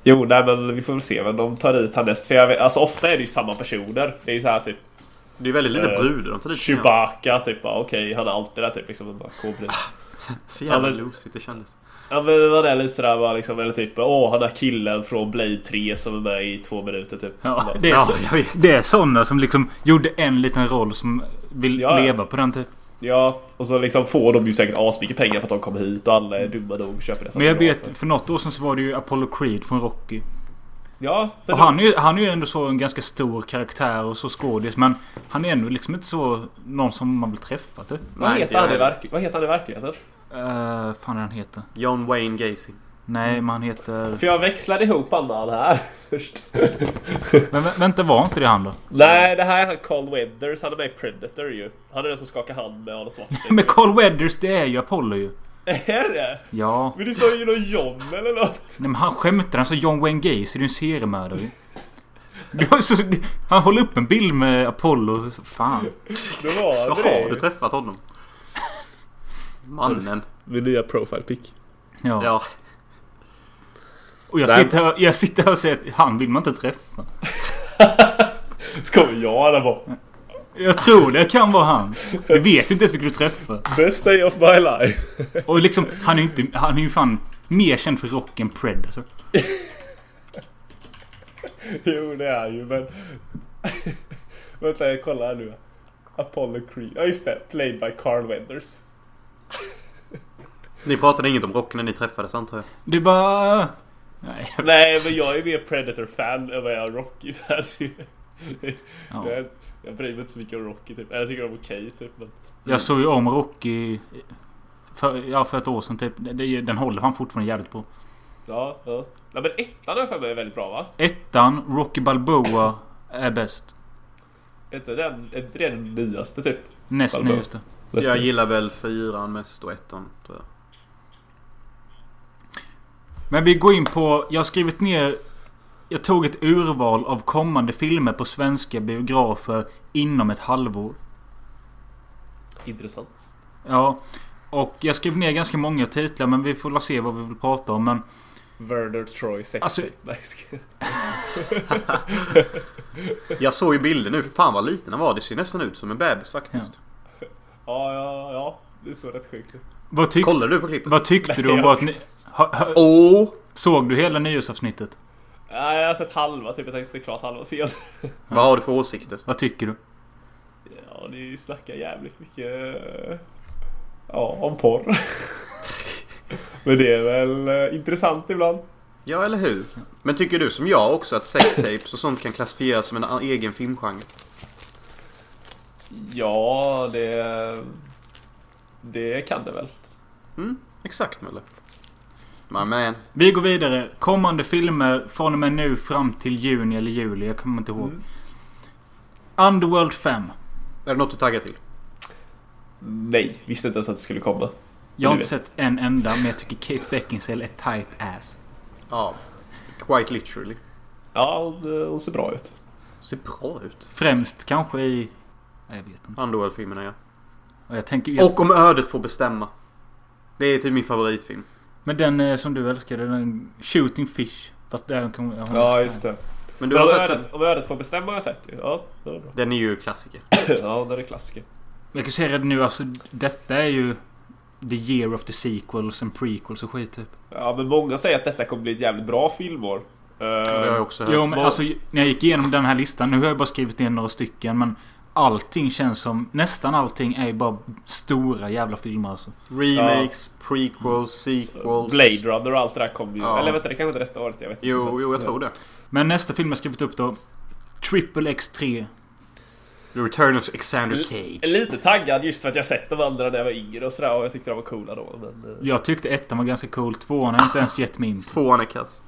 S3: Jo, nej men vi får väl se vem de tar dit härnäst. För jag, vet- alltså ofta är det ju samma personer. Det är ju så här typ
S1: Det är väldigt lite
S3: Eh,
S1: brudar de tar dit. känner jag.
S3: Chewbacca typ. bara, Okej, han är alltid där typ liksom. Man bara, kom dit.
S1: Så jävla
S3: Ja, men-
S1: lusigt det kändes.
S3: Ja men man är lite sådär bara liksom, eller typ Åh han där killen från Blade 3 som är med i två minuter typ Så
S2: Ja,
S3: bara,
S2: det, är
S1: Ja,
S2: så,
S1: jag vet.
S2: det är sådana som liksom gjorde en liten roll som vill
S3: Ja, ja.
S2: leva på den typ. tiden.
S3: ja, och så liksom får de ju säkert asmycket pengar för att de kommer hit och alla är dumma nog och köper det
S2: Men jag vet för något år sedan så var det ju Apollo Creed från Rocky.
S3: Ja, men
S2: Och
S3: han...
S2: han är, ju, han är ju ändå så en ganska stor karaktär och så skådis. Men han är ändå liksom inte så någon som man vill träffa typ.
S3: vad,
S1: Nej, inte
S3: heter han
S1: jag
S3: i
S1: heller.
S3: verk... vad heter han i verkligheten?
S2: Uh, fan är han heter?
S1: John Wayne Gacy.
S2: Nej, men han heter...
S3: För jag växlade ihop han med han här först
S2: Men vä- vänta, var inte det han då?
S3: Nej det här är han Carl Weathers, han är med i Predator ju Han är den som skakar hand med Arnold Schwarzenegger
S2: Men Carl Weathers, det är ju Apollo ju.
S3: Är det?
S2: Ja.
S3: Men det står ju någon John eller något
S2: Nej, men han skämtar. Han sa John Wayne Gacy. Du är en seriemördare ju. Du har ju så, han håller upp en bild med Apollo. Fan.
S3: Det var
S1: Så
S3: det
S1: har du träffat honom? Mannen.
S3: Min nya profile pic
S2: Ja.
S1: Ja.
S2: Och jag
S3: Nej.
S2: sitter, här, jag sitter här och säger att han vill man inte träffa.
S3: Så kommer jag där bara
S2: Jag tror det kan vara han. Vi vet ju inte ens vilka du träffar.
S3: Best day of my life
S2: Och liksom, han är ju inte... Han är ju fan mer känd för rock än alltså. Predator.
S3: Jo det är ju men... Vänta jag kollar här nu. Apollo Creed. Ja just det. Played by Carl Weathers.
S1: Ni pratade inget om rocken när ni träffades antar jag.
S2: Det är bara... Nej.
S3: Nej men jag är mer Predator-fan än vad jag är Rocky-fan.
S2: Ja.
S3: Jag, jag bryr mig inte så mycket om Rocky typ. Eller jag tycker de är okej typ. Men...
S2: Jag såg ju om Rocky... För, ja, för ett år sedan typ. Det- det- Den håller han fortfarande jävligt på.
S3: Ja, ja. Nej men ettan har jag för mig är väldigt bra va?
S2: Ettan, Rocky Balboa är bäst.
S3: Är inte den, är inte det den nyaste typ?
S2: Näst
S3: Balboa.
S2: nyaste.
S1: Jag gillar väl fyran mest och ettan tror jag.
S2: Men vi går in på... Jag har skrivit ner... Jag tog ett urval av kommande filmer på svenska biografer inom ett halvår.
S3: Intressant.
S2: Ja. Och jag skrev ner ganska många titlar men vi får la se vad vi vill prata om. Men
S3: Werner Troy 60.
S2: Alltså-
S3: Nej, jag skojar.
S1: Jag såg ju bilder nu. Fan vad liten han var. Det ser nästan ut som en bebis faktiskt.
S3: ja, ja, ja. Det såg rätt sjukt ut.
S2: vad, tyck,
S1: Kollade du på klippet?
S2: vad tyckte du om
S3: Nej,
S2: vårt... ni- ha- ha-
S1: Åh!
S2: Såg du hela nyhetsavsnittet?
S3: Ja, jag har sett halva typ. Jag tänkte se klart halva serien.
S1: Vad har du för åsikter?
S2: Vad tycker du?
S3: Ja, ni snackar jävligt mycket eh, ja, om porr. Men det är väl eh, intressant ibland.
S1: Ja, eller hur? Men tycker du som jag också att sextapes och sånt kan klassifieras som en a- egen filmgenre?
S3: Ja, det... Det kan det väl.
S1: Exakt, Möller. My man.
S2: Vi går vidare. Kommande filmer från och med nu fram till juni eller juli. Jag kommer inte ihåg.
S3: Mm.
S2: Underworld 5.
S1: Är det något du taggar till?
S3: Nej, visste inte ens att det skulle komma.
S2: Jag har
S3: Du
S2: inte sett en enda men jag tycker Kate Beckinsale är tight ass.
S1: Ja. Quite literally.
S3: Ja, hon, eh, hon ser bra ut.
S1: Ser bra ut.
S2: Främst kanske i... Nej, Jag vet inte.
S1: Underworld-filmerna, ja.
S2: Och jag tänker, jag,
S1: Och om ödet får bestämma. Det är typ min favoritfilm.
S2: men den eh, som du älskade, den Shooting Fish. Fast där kommer jag...
S3: Ja, just det.
S1: Men du
S3: Men
S1: har
S3: om
S1: sett den?
S3: ödet, om ödet får bestämma har jag sett ju. Ja, det var bra.
S1: Den är ju klassiker.
S3: Ja, den är klassiker.
S2: Jag kan säga redan nu, alltså detta är ju... The year of the sequels and prequels och skit typ.
S3: Ja, men många säger att detta kommer bli ett jävligt bra filmår. Eh,
S1: Det har jag också hört.
S2: Jo, men
S3: Vad-
S2: alltså när jag gick igenom den här listan. Nu har jag bara skrivit ner några stycken men... Allting känns som... Nästan allting är ju bara stora jävla filmer alltså.
S1: Remakes, prequels, sequels.
S3: Eh, Blade Runner och allt det där kommer ju.
S1: Ja.
S3: Eller vänta, det kanske inte är detta året. Jag vet inte.
S1: Jo, jo, jag tror det.
S2: Men nästa film jag skrivit upp då. Triple X3.
S1: The Return of Alexander
S3: Jag är
S1: Cage.
S3: lite taggad just för att jag sett de andra när jag var yngre och sådär och jag tyckte de var coola då. Men, eh,
S2: Jag tyckte ettan var ganska cool. Tvåan har inte ens gett mig in.
S1: Tvåan är kass.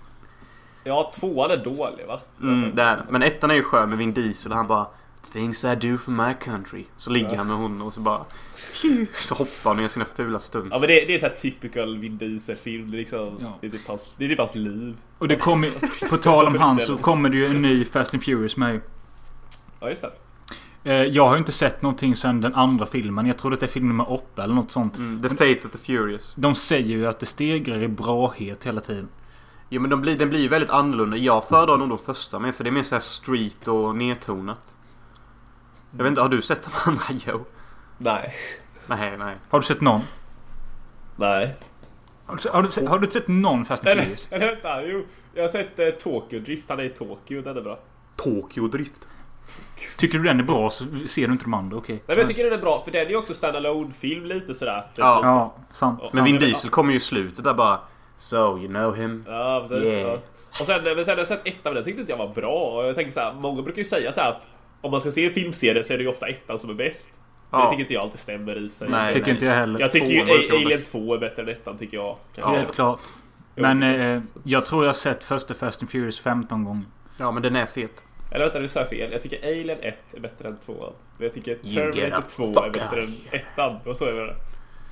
S3: ja, tvåan är dålig va?
S1: Mm, det är den. Men ettan är ju skön med Vin Diesel. Han bara... Things I do for my country. Så ligger han med hon och så bara... pju, Så hoppar han och gör sina fula stunts.
S3: Ja men det, det är såhär typical Vin Diesel-film. Det är liksom,
S2: Ja.
S3: det, är typ hans, det är typ hans liv.
S2: Och det kommer På tal om han så kommer det ju en ny Fast and Furious med.
S3: Ja just det.
S2: Eh, Jag har ju inte sett någonting sen den andra filmen. Jag tror att det är film nummer åtta eller något sånt.
S1: Mm, the Faith of the Furious.
S2: De säger ju att det stegrar i brahet hela tiden.
S1: Jo men de blir, den blir ju väldigt annorlunda. Jag föredrar nog de första men för det är mer såhär street och nedtonat. Jag vet inte, har du sett de andra Joe?
S3: Nej.
S1: Nej, nej.
S2: Har du sett någon?
S3: Nej.
S2: Har du, har du, sett- har du inte sett någon Fast and
S3: Eller,
S2: Furious?
S3: eller vänta, jo. Jag har sett eh, Tokyo Drift. Han är i Tokyo. Den är bra.
S1: Tokyo Drift.
S2: Tycker du den är bra så ser du inte de andra, okej.
S3: Nej men jag tycker den är bra för den är ju också standalone film lite sådär.
S1: Mm.
S3: typ.
S1: Ja.
S2: Ja, sant.
S3: Och
S1: Men
S3: han
S1: Vin
S3: är väl-
S1: Diesel kommer ju i slutet där bara... So you know him.
S3: Ja, precis.
S1: Yeah.
S3: Ja. Och sen, men sen har jag sett ettan, men den tyckte inte jag var bra. Och jag tänker så här, många brukar ju säga så här att om man ska se en filmserie så är det ju ofta ettan som är bäst. Men
S1: Ja.
S3: det tycker inte jag alltid stämmer i sig.
S1: Nej,
S2: Tycker
S1: nej.
S2: inte jag heller.
S3: Jag tycker ju
S1: Tvåan var det
S3: A-
S1: jobbigt.
S3: Alien 2 är bättre än ettan tycker jag. kanske.
S2: Helt klart. Men eh, jag tror jag har sett första Fast and Furious 15 gånger.
S1: Ja men den är fet.
S3: Eller vänta, nu sa jag fel. Jag tycker Alien 1 är bättre än 2. Men jag tycker
S1: You get
S3: Terminator
S1: the
S3: 2
S1: fuck
S3: är bättre
S1: out
S3: än ettan. Och så är det.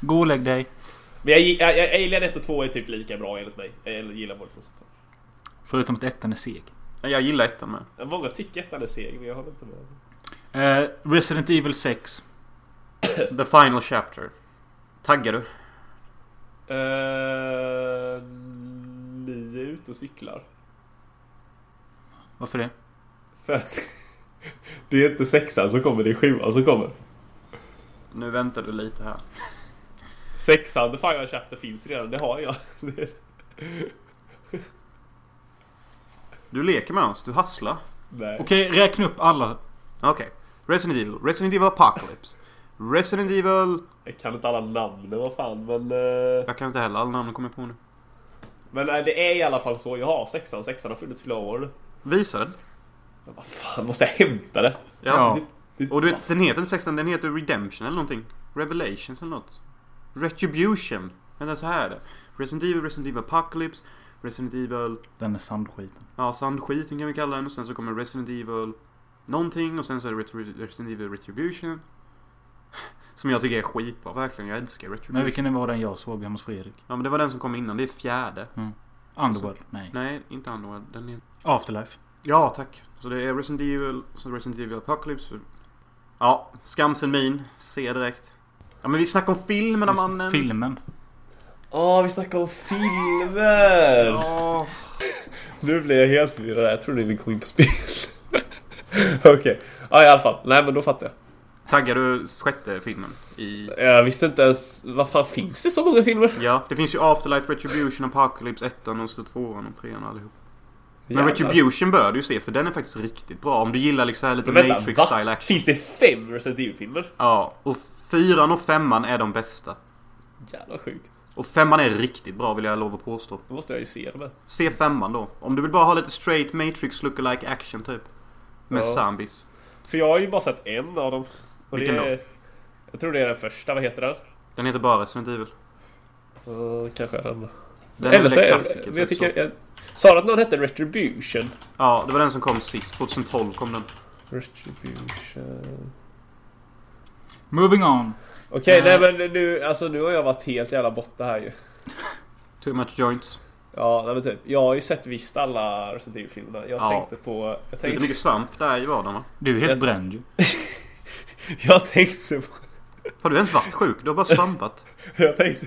S2: Gå och lägg dig.
S3: Men jag, jag, jag, Alien 1 och 2 är typ lika bra enligt mig. Jag gillar båda två. så fan.
S2: Förutom att ettan är seg.
S1: Nej, Jag gillar ettan med.
S3: Men Många tycker ettan är seg, men jag håller inte med.
S2: Eh, Resident Evil 6.
S1: The Final Chapter. Taggar du?
S3: Uh, ni är ute och cyklar.
S2: Varför det?
S3: För att det är inte sexan som kommer, det är sjuan som kommer.
S1: Nu väntar du lite här.
S3: Sexan, The Final Chapter finns redan, det har jag.
S1: Du leker med oss, du hasslar.
S3: Nej.
S2: Okej, räkna upp alla.
S1: Okej. Resident Evil. Resident Evil Apocalypse. Resident Evil...
S3: Jag kan inte alla namnen, vad fan. Men, eh,
S1: Jag kan inte heller alla namn kommer jag på nu.
S3: men eh, det är i alla fall så. Jag har sexan, sexan har funnits flera år.
S1: Visa den.
S3: Men vad fan, måste jag hämta det?
S1: ja.
S2: Ja.
S1: Och du vet, den heter inte 16, den heter Redemption eller någonting. Revelations eller något. Retribution. Vänta, så här är det. Resident Evil, Resident Evil Apocalypse, Resident Evil...
S2: Den är sandskiten.
S1: Ja, sandskiten kan vi kalla den. Och sen så kommer Resident Evil någonting och sen så är det Retri- Resident Evil Retribution. Som jag tycker är skitbra, verkligen. Jag älskar Retribution.
S2: Men vilken var den jag såg hemma hos Fredrik?
S1: Ja, men det var den som kom innan. Det är fjärde.
S2: Underworld? Nej.
S1: Nej, inte Underworld. Den är...
S2: Afterlife?
S1: Ja, tack. Så det är Resident Evil, så Resident Evil Apocalypse. Ja, skamsen min. Se direkt. Ja, men vi snackar om filmerna mannen.
S2: Filmen?
S3: Åh, vi snackar om filmer!
S1: Ja.
S3: Nu blir jag helt förvirrad. Jag tror ni kom in på spel. Okej, ja i alla fall. Nej men då fattar jag.
S1: Taggar du sjätte filmen? I...
S3: Jag visste inte ens, vad fan finns det så många filmer?
S1: Ja, det finns ju Afterlife, Retribution, Apocalypse, ettan och så tvåan och trean allihop. Men Retribution bör du ju se för den är faktiskt riktigt bra. Om du gillar liksom så här lite
S3: Men vänta,
S1: Matrix-style
S3: va?
S1: action.
S3: Finns det fem Resident Evil-filmer?
S1: Ja, och fyran och femman är de bästa.
S3: Jävla sjukt.
S1: Och femman är riktigt bra vill jag lov att påstå.
S3: Då måste jag ju se dem här.
S1: Se femman då. Om du vill bara ha lite straight Matrix lookalike action typ. Med
S3: Ja.
S1: zombies.
S3: För jag har ju bara sett en av dem. Och
S1: Vilken
S3: det är, Jag tror det är den första, vad heter den?
S1: Den heter bara Resident Evil.
S3: Uh, kanske är den.
S1: Den
S3: Eller
S1: väl
S3: så
S1: en
S3: är
S1: klassiker,
S3: men
S1: typ
S3: jag tycker...
S1: så.
S3: Jag, sa du att någon hette Retribution?
S1: Ja, det var den som kom sist. 2012 kom den.
S3: Retribution...
S2: Moving on.
S3: Okej,
S2: Eh.
S3: nej men nu, alltså, nu har jag varit helt jävla borta här ju.
S1: Too much joints.
S3: Ja, nej, men typ. Jag har ju sett visst alla Resident Evil-filmerna. Jag
S1: Ja.
S3: tänkte på... Jag
S1: Lite
S3: tänkte,
S1: mycket svamp där i vardagen va?
S2: Du är helt
S3: Jag-
S2: bränd ju.
S3: jag tänkte på...
S1: Har du ens varit sjuk? Du har bara svampat.
S3: Jag tänkte...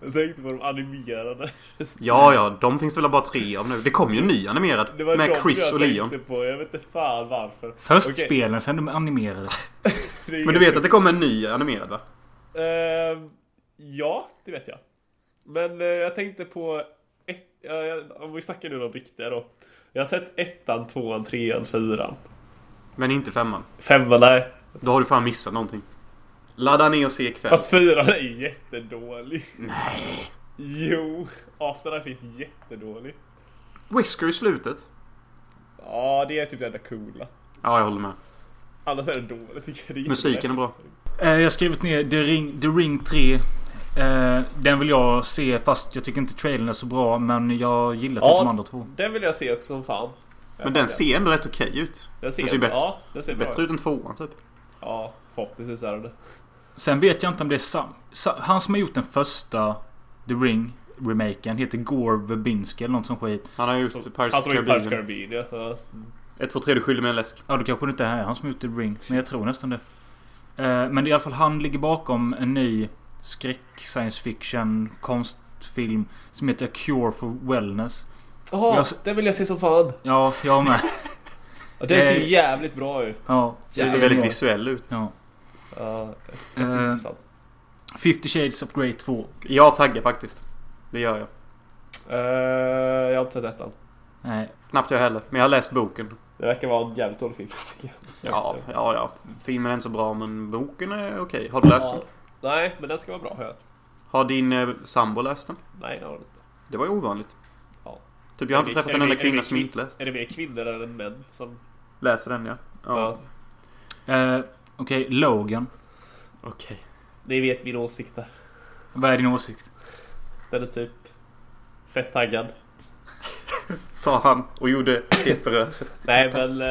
S3: Jag tänkte på de animerade.
S1: Ja, ja, de finns det väl bara tre av nu. Det kom ju en ny animerad.
S3: Det var
S1: Med
S3: de
S1: Chris
S3: jag
S1: och
S3: tänkte
S1: Leon.
S3: På. Jag vet inte fan varför.
S2: Först
S3: Okej.
S2: spelen, sen de animerade.
S3: Det är
S1: Men du
S3: helt
S1: vet att det kommer en ny animerad va?
S3: Ehm, ja, det vet jag. Men eh, jag tänkte på... Ett, ja, jag- om vi snackar nu om riktiga då. Jag har sett ettan, tvåan, trean, fyran.
S1: Men inte femman.
S3: Femman, nej.
S1: Då har du fan missat någonting. Ladda ner och se ikväll.
S3: Fast fyran är ju jättedålig. Nej. Jo, After Life är jättedålig.
S1: Whisker i slutet.
S3: Ja, det är typ det enda coola.
S1: Ja, jag håller med.
S3: Annars är det dåligt tycker jag. Det är
S1: Musiken är bra.
S2: Eh, Jag har skrivit ner The Ring, The Ring 3. Eh, Den vill jag se fast jag tycker inte trailern är så bra men jag gillar typ
S3: Ja.
S2: de andra två.
S3: Den vill jag se också som fan.
S1: Men den ser ändå rätt okej ut.
S3: den ser,
S1: den ser bättre-
S3: ja, den ser
S1: Bättre
S3: bra.
S1: ut än tvåan typ.
S3: Ja, förhoppningsvis är den det.
S2: Sen vet jag inte om det är sam... sa- Han som har gjort den första The Ring remaken heter Gore Verbinski eller något som skit.
S1: Han har
S3: Som-
S1: gjort Pirates
S3: Han
S1: of
S3: som har gjort Pirates of
S1: Caribbean.
S3: Caribbean, ja. ja.
S1: 1, 2, 3, du skyller mig en läsk.
S2: Ja det kanske det inte är han som har gjort The Ring men jag tror nästan det. Eh, Men det är i alla fall han ligger bakom en ny skräck science fiction konstfilm som heter A Cure for Wellness.
S3: Jaha,
S2: Jag-
S3: den vill jag se som fan.
S2: Ja, jag med.
S3: Ja, den ser
S2: Nej.
S3: ju jävligt bra ut.
S2: Ja,
S1: Den ser
S3: Jävlar.
S1: väldigt visuell ut.
S2: Ja.
S3: Ja,
S1: Mm.
S2: Eh,
S3: intressant.
S2: 50 Shades of Grey 2.
S1: Jag taggar faktiskt. Det gör jag.
S3: Eh, jag har inte sett ettan.
S2: Nej.
S1: Knappt jag heller. Men jag har läst boken.
S3: Det verkar vara en jävligt dålig film tycker jag.
S1: Ja, ja, ja. Filmen är inte så bra men boken är okej. Har du läst den?
S3: Ja. Nej, men den ska vara bra hör jag.
S1: Har din eh, sambo läst den?
S3: Nej, det har den inte.
S1: Det var ju ovanligt.
S3: Ja.
S1: Typ jag har
S3: Är
S1: inte
S3: det-
S1: träffat
S3: är
S1: en
S3: det-
S1: enda
S3: är det
S1: kvinna som
S3: kvi-
S1: inte läst.
S3: Är det mer kvinnor än män som...
S1: Läser den ja.
S3: Ja.
S1: Ja.
S2: Eh, Okej, Logan.
S1: Okej.
S3: Ni vet min åsikt där.
S2: Vad är din åsikt?
S3: Den är typ fett taggad.
S1: Sa han och gjorde teperörelse.
S3: Nej, men eh,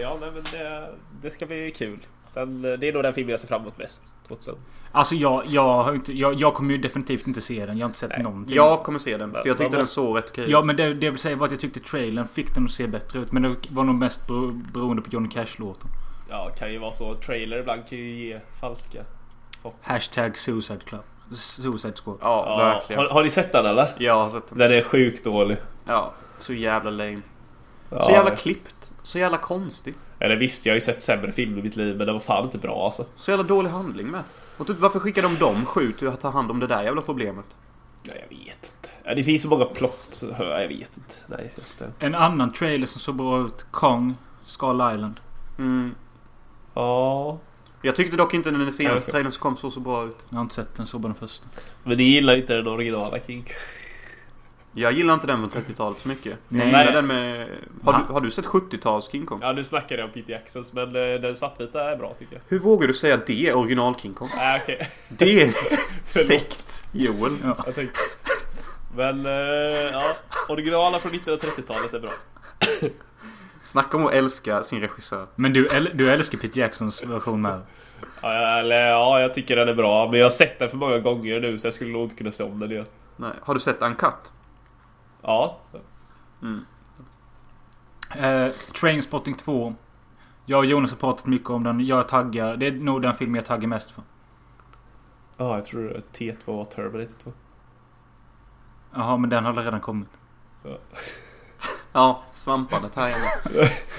S3: ja, nej, men det, det ska bli kul. Den, eh, det är nog den film jag ser fram emot mest. 2000.
S2: Alltså jag, jag, har ju inte, jag, jag kommer ju definitivt inte se den. Jag har inte sett
S3: Nej.
S2: någonting.
S1: Jag kommer se den. För
S3: Man
S1: jag tyckte den
S3: måste-
S1: såg rätt okej
S2: Ja men det, det vill säga var att jag tyckte trailern fick den att se bättre ut. Men det var nog mest bero, beroende på Johnny Cash-låten.
S3: Ja, kan ju vara så. En trailer ibland kan ju ge falska.
S2: Hashtag Suicide Club. Suicide Squad.
S1: Ja,
S3: Ja,
S1: verkligen.
S3: har, har ni sett den eller?
S1: Jag har sett den.
S3: Den är sjukt dålig.
S1: Ja, så jävla lame.
S3: Ja.
S1: Så jävla klippt. Så jävla konstigt.
S3: Eller visst, jag har ju sett sämre filmer i mitt liv men den var fan inte bra alltså.
S1: Så jävla dålig handling med. Och typ varför skickar de dem sju till att ta hand om det där jävla problemet?
S3: Nej, jag vet inte. Ja, det finns så många plott. Ja, Jag vet inte. Nej, just det.
S2: En annan trailer som såg bra ut. Kong. Skull Island.
S1: Mm.
S3: Ja.
S1: Jag tyckte dock inte den
S3: Kanske.
S1: senaste trailern som kom så så bra ut.
S2: Jag har inte sett den. Såg bara den första.
S3: Men ni gillar inte den originala King.
S1: Jag gillar inte den från 30-talet så mycket.
S2: Nej.
S1: Jag gillar den med... Har
S2: Va?
S1: du, har du sett 70-tals King Kong?
S3: Ja, nu snackar jag om Peter Jacksons men eh, den svartvita är bra tycker jag.
S1: Hur vågar du säga det är original King Kong?
S3: Nej, Ah, okej.
S1: Det är sekt Joel.
S3: Jag tänkte. Men eh, ja, originala från 1930-talet är bra.
S1: Snacka om att älska sin regissör.
S2: Men du, äl- du älskar Peter Jacksons version med.
S3: Ja, jag- eller ja, jag tycker den är bra. Men jag har sett den för många gånger nu så jag skulle nog inte kunna se om den igen.
S1: Nej. Har du sett Uncut?
S3: Ja.
S1: Mm.
S2: Eh, Trainspotting 2. Jag och Jonas har pratat mycket om den. Jag taggar. Det är nog den film jag taggar mest för.
S3: Ja, jag tror att T2 var Terminator 2.
S2: Jaha, men den har redan kommit.
S1: Ja, svampandet här igen.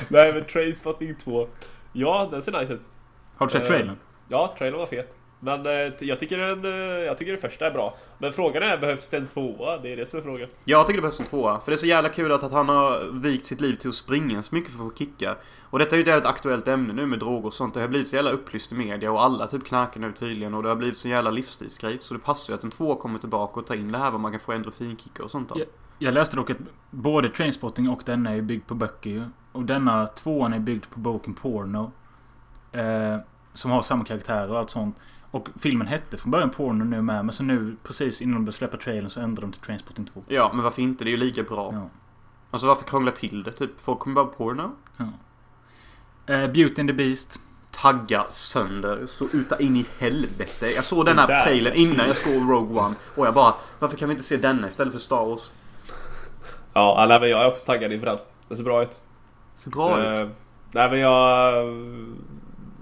S3: Nej men Trainspotting 2. Ja, den ser nice ut.
S2: Har du sett
S3: Eh.
S2: trailern?
S3: Ja, trailern var fet. Men eh, jag tycker, den, eh, jag tycker den första är bra. Men frågan är, behövs det en tvåa? Det är det som är frågan.
S1: Jag tycker det behövs en tvåa. För det är så jävla kul att, att han har vikt sitt liv till att springa så mycket för att få kickar. Och detta är ju ett jävligt aktuellt ämne nu med droger och sånt. Det har blivit så jävla upplyst i media och alla typ knarkar nu tydligen. Och det har blivit så jävla livsstilsgrej. Så det passar ju att en tvåa kommer tillbaka och tar in det här vad man kan få endorfinkickar och sånt av.
S2: Ja. Jag läste dock att både Trainspotting och denna är byggd på böcker ju. Och denna tvåan är byggd på boken Porno. Eh, som har samma karaktär och allt sånt. Och filmen hette från början Porno nu med. Men så nu precis innan de började släppa trailern så ändrade de till Trainspotting 2.
S1: Ja, men varför inte? Det är ju lika bra.
S2: Ja.
S1: Alltså varför krångla till det? Typ, folk kommer bara på porno.
S2: Eh, Beauty and the Beast.
S1: Tagga sönder så uta in i helvete. Jag såg den
S3: Där.
S1: här trailern innan jag såg Rogue One. Och jag bara, varför kan vi inte se denna istället för Star Wars?
S3: Ja, nej, men jag är också taggad inför den. Det ser bra ut.
S1: Ser bra ut.
S3: Eh, nej men jag... eh,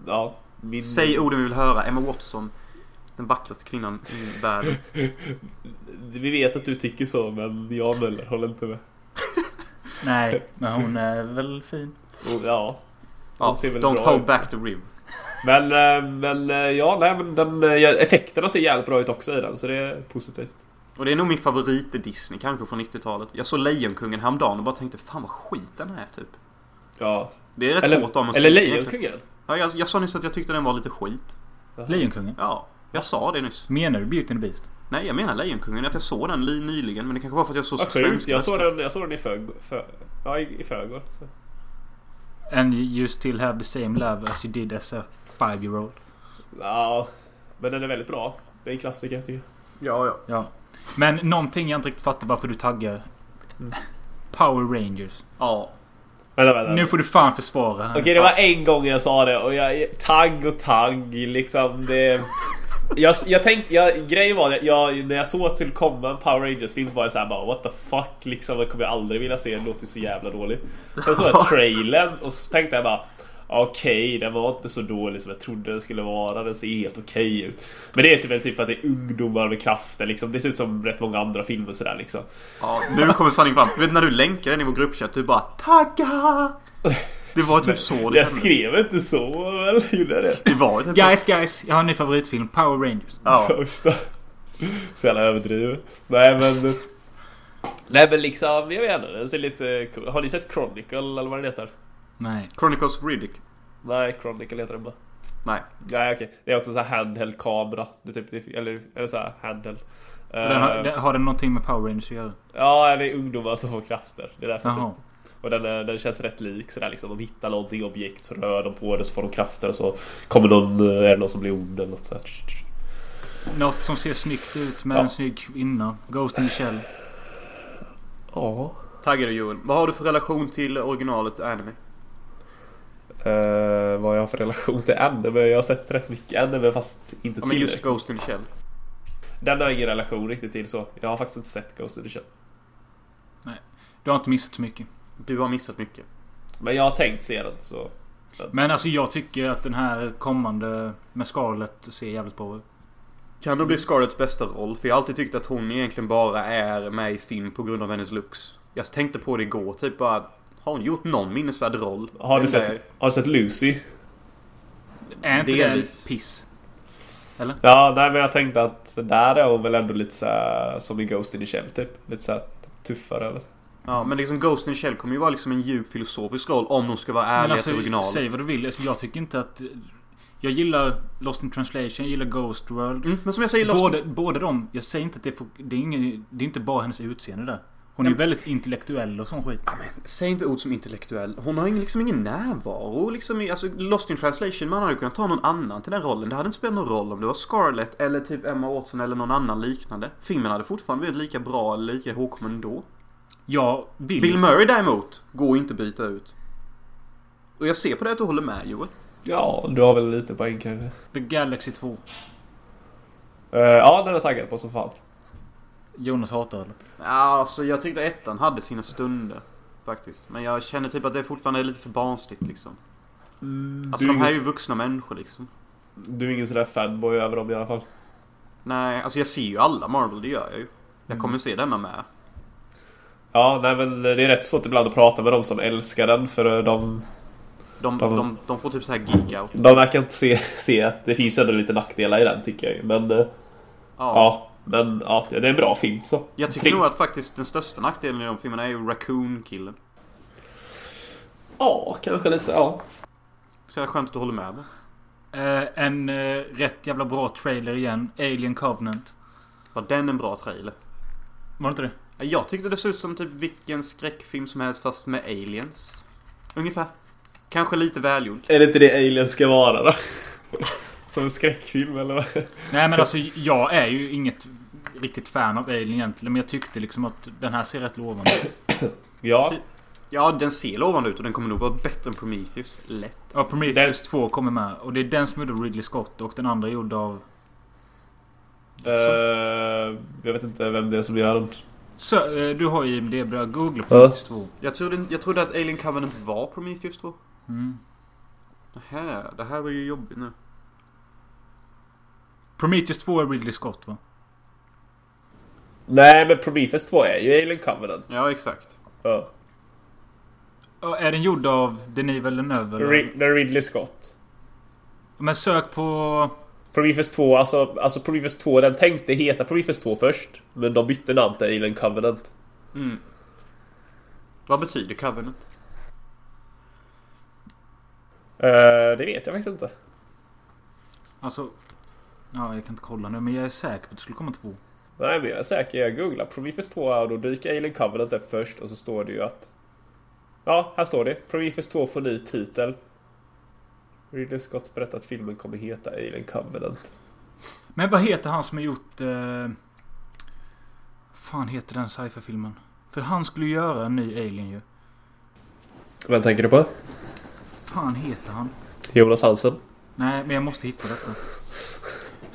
S3: Ja, min...
S1: Säg orden vi vill höra. Emma Watson. Den vackraste kvinnan i världen.
S3: Vi vet att du tycker så men jag och Möller håller inte med.
S2: Nej, men hon är väl fin.
S3: Och, ja.
S1: Ja,
S3: Den ser väl
S1: don't
S3: bra
S1: hold
S3: ut.
S1: back the rim.
S3: Men, eh, men eh, ja, nej, men den, eh, effekterna ser jävligt bra ut också i den så det är positivt.
S1: Och det är nog min favorit i Disney kanske från 90-talet. Jag såg Lejonkungen häromdagen och bara tänkte fan vad skit den är typ.
S3: Ja.
S1: Det är rätt
S3: Eller,
S1: hårt av mig att
S3: eller
S1: säga egentligen.
S3: Lejonkungen.
S1: Ja, jag, jag sa nyss att jag tyckte den var lite skit.
S2: Lejonkungen.
S1: Ja, jag sa det nyss.
S2: Menar du Beauty and the Beast?
S1: Nej, jag menar Lejonkungen. Att jag såg den li- nyligen. Men det kanske var för att jag såg
S3: Vad
S1: så
S3: sjukt,
S1: svensk
S3: jag
S1: nästan.
S3: såg den, jag såg den i förrgår. För, ja, i, i förrgår. så.
S2: And you still have the same love as you did as a five year old.
S3: Ja, men den är väldigt bra. Det är en klassiker jag tycker
S1: Ja, ja.
S2: Ja. Men någonting jag inte riktigt fattar varför du taggar. Power Rangers.
S1: Ja.
S3: Vänta, vänta.
S2: Nu får du fan försvara här.
S3: Okej, det var en gång jag sa det och jag... Tagg och tagg liksom. Det... Jag, jag tänkte, jag, grejen var att jag, när jag såg att det skulle komma en Power Rangers-film var jag såhär bara what the fuck liksom, det kommer jag aldrig vilja se, det låter så jävla dåligt. Sen såg jag trailern och så tänkte jag bara okej, den var inte så dålig som jag trodde den skulle vara, den ser helt okej ut. Men det är typ, väl typ för att det är ungdomar med krafter liksom, det ser ut som rätt många andra filmer sådär liksom.
S1: ja nu kommer sanningen fram. Du vet när du länkar den i vår gruppchatt. Du bara tagga! Det var typ så det
S3: Jag
S1: kändes.
S3: skrev inte så väl, gjorde jag det?
S1: Det var typ
S2: Guys, guys! Jag har en ny favoritfilm. Power Rangers.
S1: Ja.
S3: Just det. Så jävla överdrivet. Nej men... Nej men liksom, jag vet inte. Den ser lite cool. Har ni sett Chronicle eller vad den heter?
S2: Nej.
S1: Chronicles of Riddick.
S3: Nej, Chronicle heter den bara.
S1: Nej.
S3: Nej okej. Det är också så här handheld kamera. Det är typ, eller, eller så här handheld.
S2: Den har,
S3: Eh,
S2: den, har den någonting med Power Rangers att göra?
S3: Ja, det är ungdomar som får krafter. Det är därför typ.
S2: Jaha.
S3: Och den, eh, den känns rätt lik sådär liksom. De hittar någonting, objekt, så rör de på det så får de krafter och så kommer någon, eh, är det någon som blir ond eller något sådär.
S2: Något som ser snyggt ut med
S3: Ja.
S2: en snygg kvinna. Ghost in the Shell.
S3: Ja.
S1: Taggar du Joel. Vad har du för relation till originalet anime?
S3: Eh, vad jag har för relation till anime. Jag har sett rätt mycket anime fast inte
S1: Ja, men just
S3: tillräckligt.
S1: Ghost in the Shell.
S3: Den har jag ingen relation riktigt till så. Jag har faktiskt inte sett Ghost in the Shell.
S2: Du har inte missat så mycket.
S1: Du har missat mycket.
S3: Men jag har tänkt se den så.
S2: Men alltså jag tycker att den här kommande med Scarlett ser jävligt bra ut.
S1: Kan då bli Scarletts bästa roll? För jag har alltid tyckt att hon egentligen bara är med i film på grund av hennes looks. Jag tänkte på det igår, typ bara... Har hon gjort någon minnesvärd roll?
S3: Har du,
S1: Eller-
S3: sett, har du sett Lucy?
S2: Är inte
S1: Delvis.
S2: det piss?
S3: Ja, nej men jag tänkte att där är hon väl ändå lite så här, som i Ghost in the Shell typ. Lite så här tuffare eller så.
S1: Ja, men liksom Ghost in the Shell kommer ju vara liksom en djup filosofisk roll om de ska vara ärliga
S3: alltså,
S1: till originalet.
S2: alltså, säg vad du vill. Alltså, jag tycker inte att... Jag gillar Lost in translation, jag gillar Ghost World.
S1: Mm, men som jag säger, Lost...
S2: Både, båda de. Jag säger inte att det är... fok- Det är, ingen, det är inte bara hennes utseende där. Hon är ju väldigt intellektuell och sån skit.
S1: Ja, men, säg inte ord som intellektuell. Hon har ingen, liksom ingen närvaro. Liksom, i- alltså, Lost in translation, man hade ju kunnat ta någon annan till den rollen. Det hade inte spelat någon roll om det var Scarlett eller typ Emma Watson eller någon annan liknande. Filmen hade fortfarande blivit lika bra eller lika ihågkommen ändå.
S2: Jag vill...
S1: Bill Murray däremot går inte att byta ut. Och jag ser på det att du håller med Joel.
S3: Ja, du har väl lite poäng kanske.
S2: The Galaxy 2.
S3: Eh, ja, den är jag taggad på som fan.
S2: Jonas hatar det.
S1: Alltså jag tyckte ettan hade sina stunder. Faktiskt. Men jag känner typ att det fortfarande är lite för barnsligt liksom. Alltså
S3: du,
S1: de här
S3: är
S1: är ju
S3: ingen,
S1: vuxna människor liksom.
S3: du är ingen sådär fanboy över dem i alla fall.
S1: Nej, alltså jag ser ju alla Marvel, det gör jag ju. Jag kommer se denna med.
S3: Ja, nej men det är rätt svårt ibland att prata med de som älskar den för eh, de...
S1: De, de, de, de får typ så här geek-out.
S3: De verkar inte se, se att det finns ändå lite nackdelar i den tycker jag ju. Men eh,
S1: Ja.
S3: ja, men ja, det är en bra film så.
S1: Jag tycker
S3: Kring-
S1: nog att faktiskt den största nackdelen i de filmerna är ju Raccoon-killen.
S3: Ja, kanske lite. Ja.
S1: Så det är skönt att du håller med mig.
S2: Eh, en eh, rätt jävla bra trailer igen. Alien Covenant.
S1: Var den en bra trailer?
S2: Var det inte det?
S1: Jag tyckte det såg ut som typ vilken skräckfilm som helst fast med aliens. Ungefär. Kanske lite välgjord.
S3: Är det inte det Alien ska vara då? Som en skräckfilm eller? vad?
S2: Nej men alltså jag är ju inget riktigt fan av Alien egentligen. Men jag tyckte liksom att den här ser rätt lovande ut.
S3: Ja.
S1: Ja, den ser lovande ut och den kommer nog vara bättre än Prometheus. Lätt.
S2: Ja, Prometheus 2 kommer med. Och det är den som är gjord av Ridley Scott och den andra är gjord av
S3: eh, jag vet inte vem det är som gör den.
S2: Så, eh, du har ju IMDB, googla på Prometheus 2.
S1: Jag trodde, jag trodde att Alien Covenant var Prometheus 2.
S2: Mm.
S1: Det här, det här var ju jobbigt nu.
S2: Prometheus 2 är Ridley Scott va?
S3: Nej, men Prometheus 2 är ju Alien Covenant.
S1: Ja, exakt.
S3: Ja.
S2: Ja, Är den gjord av Denis Villeneuve eller?
S3: Ri- det är Ridley Scott.
S2: Men sök på...
S3: Prometheus 2, alltså, alltså Prometheus 2, den tänkte heta Prometheus 2 först. Men de bytte namn till Alien Covenant.
S1: Mm. Vad betyder Covenant?
S3: Eh, det vet jag faktiskt inte.
S2: Alltså... Ja, jag kan inte kolla nu men jag är säker på att det skulle komma två.
S3: Nej, men jag är säker. Jag googlar Prometheus 2 och då dyker Alien Covenant upp först och så står det ju att... Ja, här står det. Prometheus 2 får ny titel. Ridley Scott berättar att filmen kommer heta Alien Covenant.
S2: Men vad heter han som har gjort... Eh... fan heter den sci-fi-filmen? För han skulle ju göra en ny Alien ju.
S3: Vem tänker du på?
S2: fan heter han?
S3: Jonas Hansen?
S2: Nej, men jag måste hitta detta.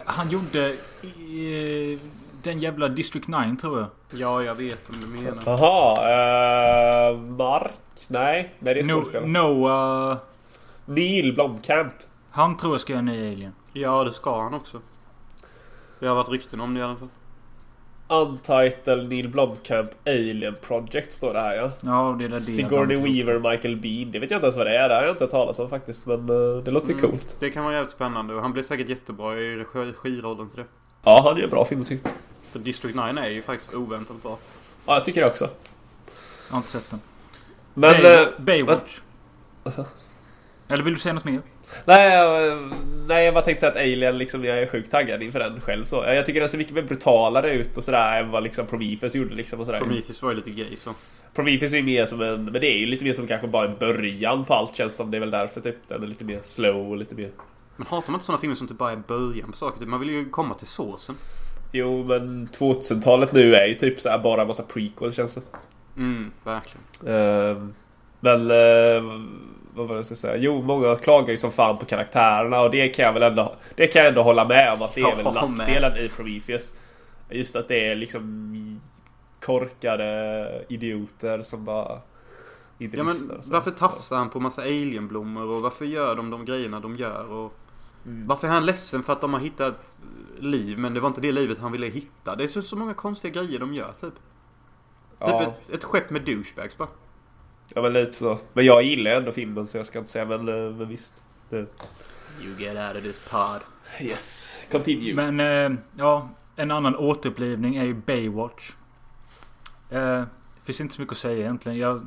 S2: Han gjorde... Eh, den jävla District 9 tror jag.
S1: Ja, jag vet vad du menar.
S3: Jaha, eh, Mark? Nej, nej det är
S2: No,
S3: skådespelaren.
S2: Noah...
S3: Neil Blomkamp.
S2: Han tror jag ska göra en ny Alien.
S1: Ja, det ska han också. Det har varit rykten om det i alla fall.
S3: Untitled Neil Blomkamp Alien Project står det här ja.
S2: Ja, det är där det
S3: Sigourney
S2: han-
S3: Weaver, Michael Bean. Det vet jag inte ens vad det är. Det har jag inte hört talas om faktiskt. Men eh, det låter ju
S1: Mm.
S3: coolt.
S1: Det kan vara jävligt spännande och han blir säkert jättebra i regi- regirollen till det.
S3: Ja, han gör bra filmer tycker jag.
S1: För District 9 är ju faktiskt oväntat bra.
S3: Ja, jag tycker det också.
S2: Jag har inte sett den.
S3: Men...
S2: Bay,
S3: eh,
S2: Baywatch. Eller vill du säga något mer?
S3: nej, jag- nej, jag bara tänkte säga att Alien liksom, jag är sjukt taggad inför den själv så. Jag tycker den ser mycket mer brutalare ut och sådär än vad liksom Prometheus gjorde liksom och sådär.
S1: Prometheus var ju lite gay så.
S3: Prometheus är ju mer som en, men det är ju lite mer som kanske bara en början på allt känns som. Det är väl därför typ den är lite mer slow och lite mer...
S1: Men hatar man inte sådana filmer som typ bara är början på saker? Typ, Man vill ju komma till såsen.
S3: Jo, men 2000-talet nu är ju typ såhär bara en massa prequel känns det.
S1: Mm, verkligen.
S3: Ehm, Men eh, vad var det jag skulle säga? Jo, många klagar ju som fan på karaktärerna och det kan jag väl ändå, det kan jag ändå hålla med om att det är väl
S1: Ja, men.
S3: nackdelen i Prometheus. Just att det är liksom korkade idioter som bara inte
S1: Ja, men
S3: lyssnar. och så.
S1: varför tafsar han på massa alienblommor och varför gör de de grejerna de gör? Och
S3: Mm.
S1: varför är han ledsen för att de har hittat liv men det var inte det livet han ville hitta? Det är så, så många konstiga grejer de gör typ.
S3: Ja,
S1: Typ ett, ett skepp med douchebags bara.
S3: ja, men lite så. Men jag gillar ju ändå filmen så jag ska inte säga men, eh, men visst. Det.
S1: You get out of this pod.
S3: Yes, continue.
S2: Men eh, ja, en annan återupplivning är ju Baywatch. Eh, finns inte så mycket att säga egentligen. Jag,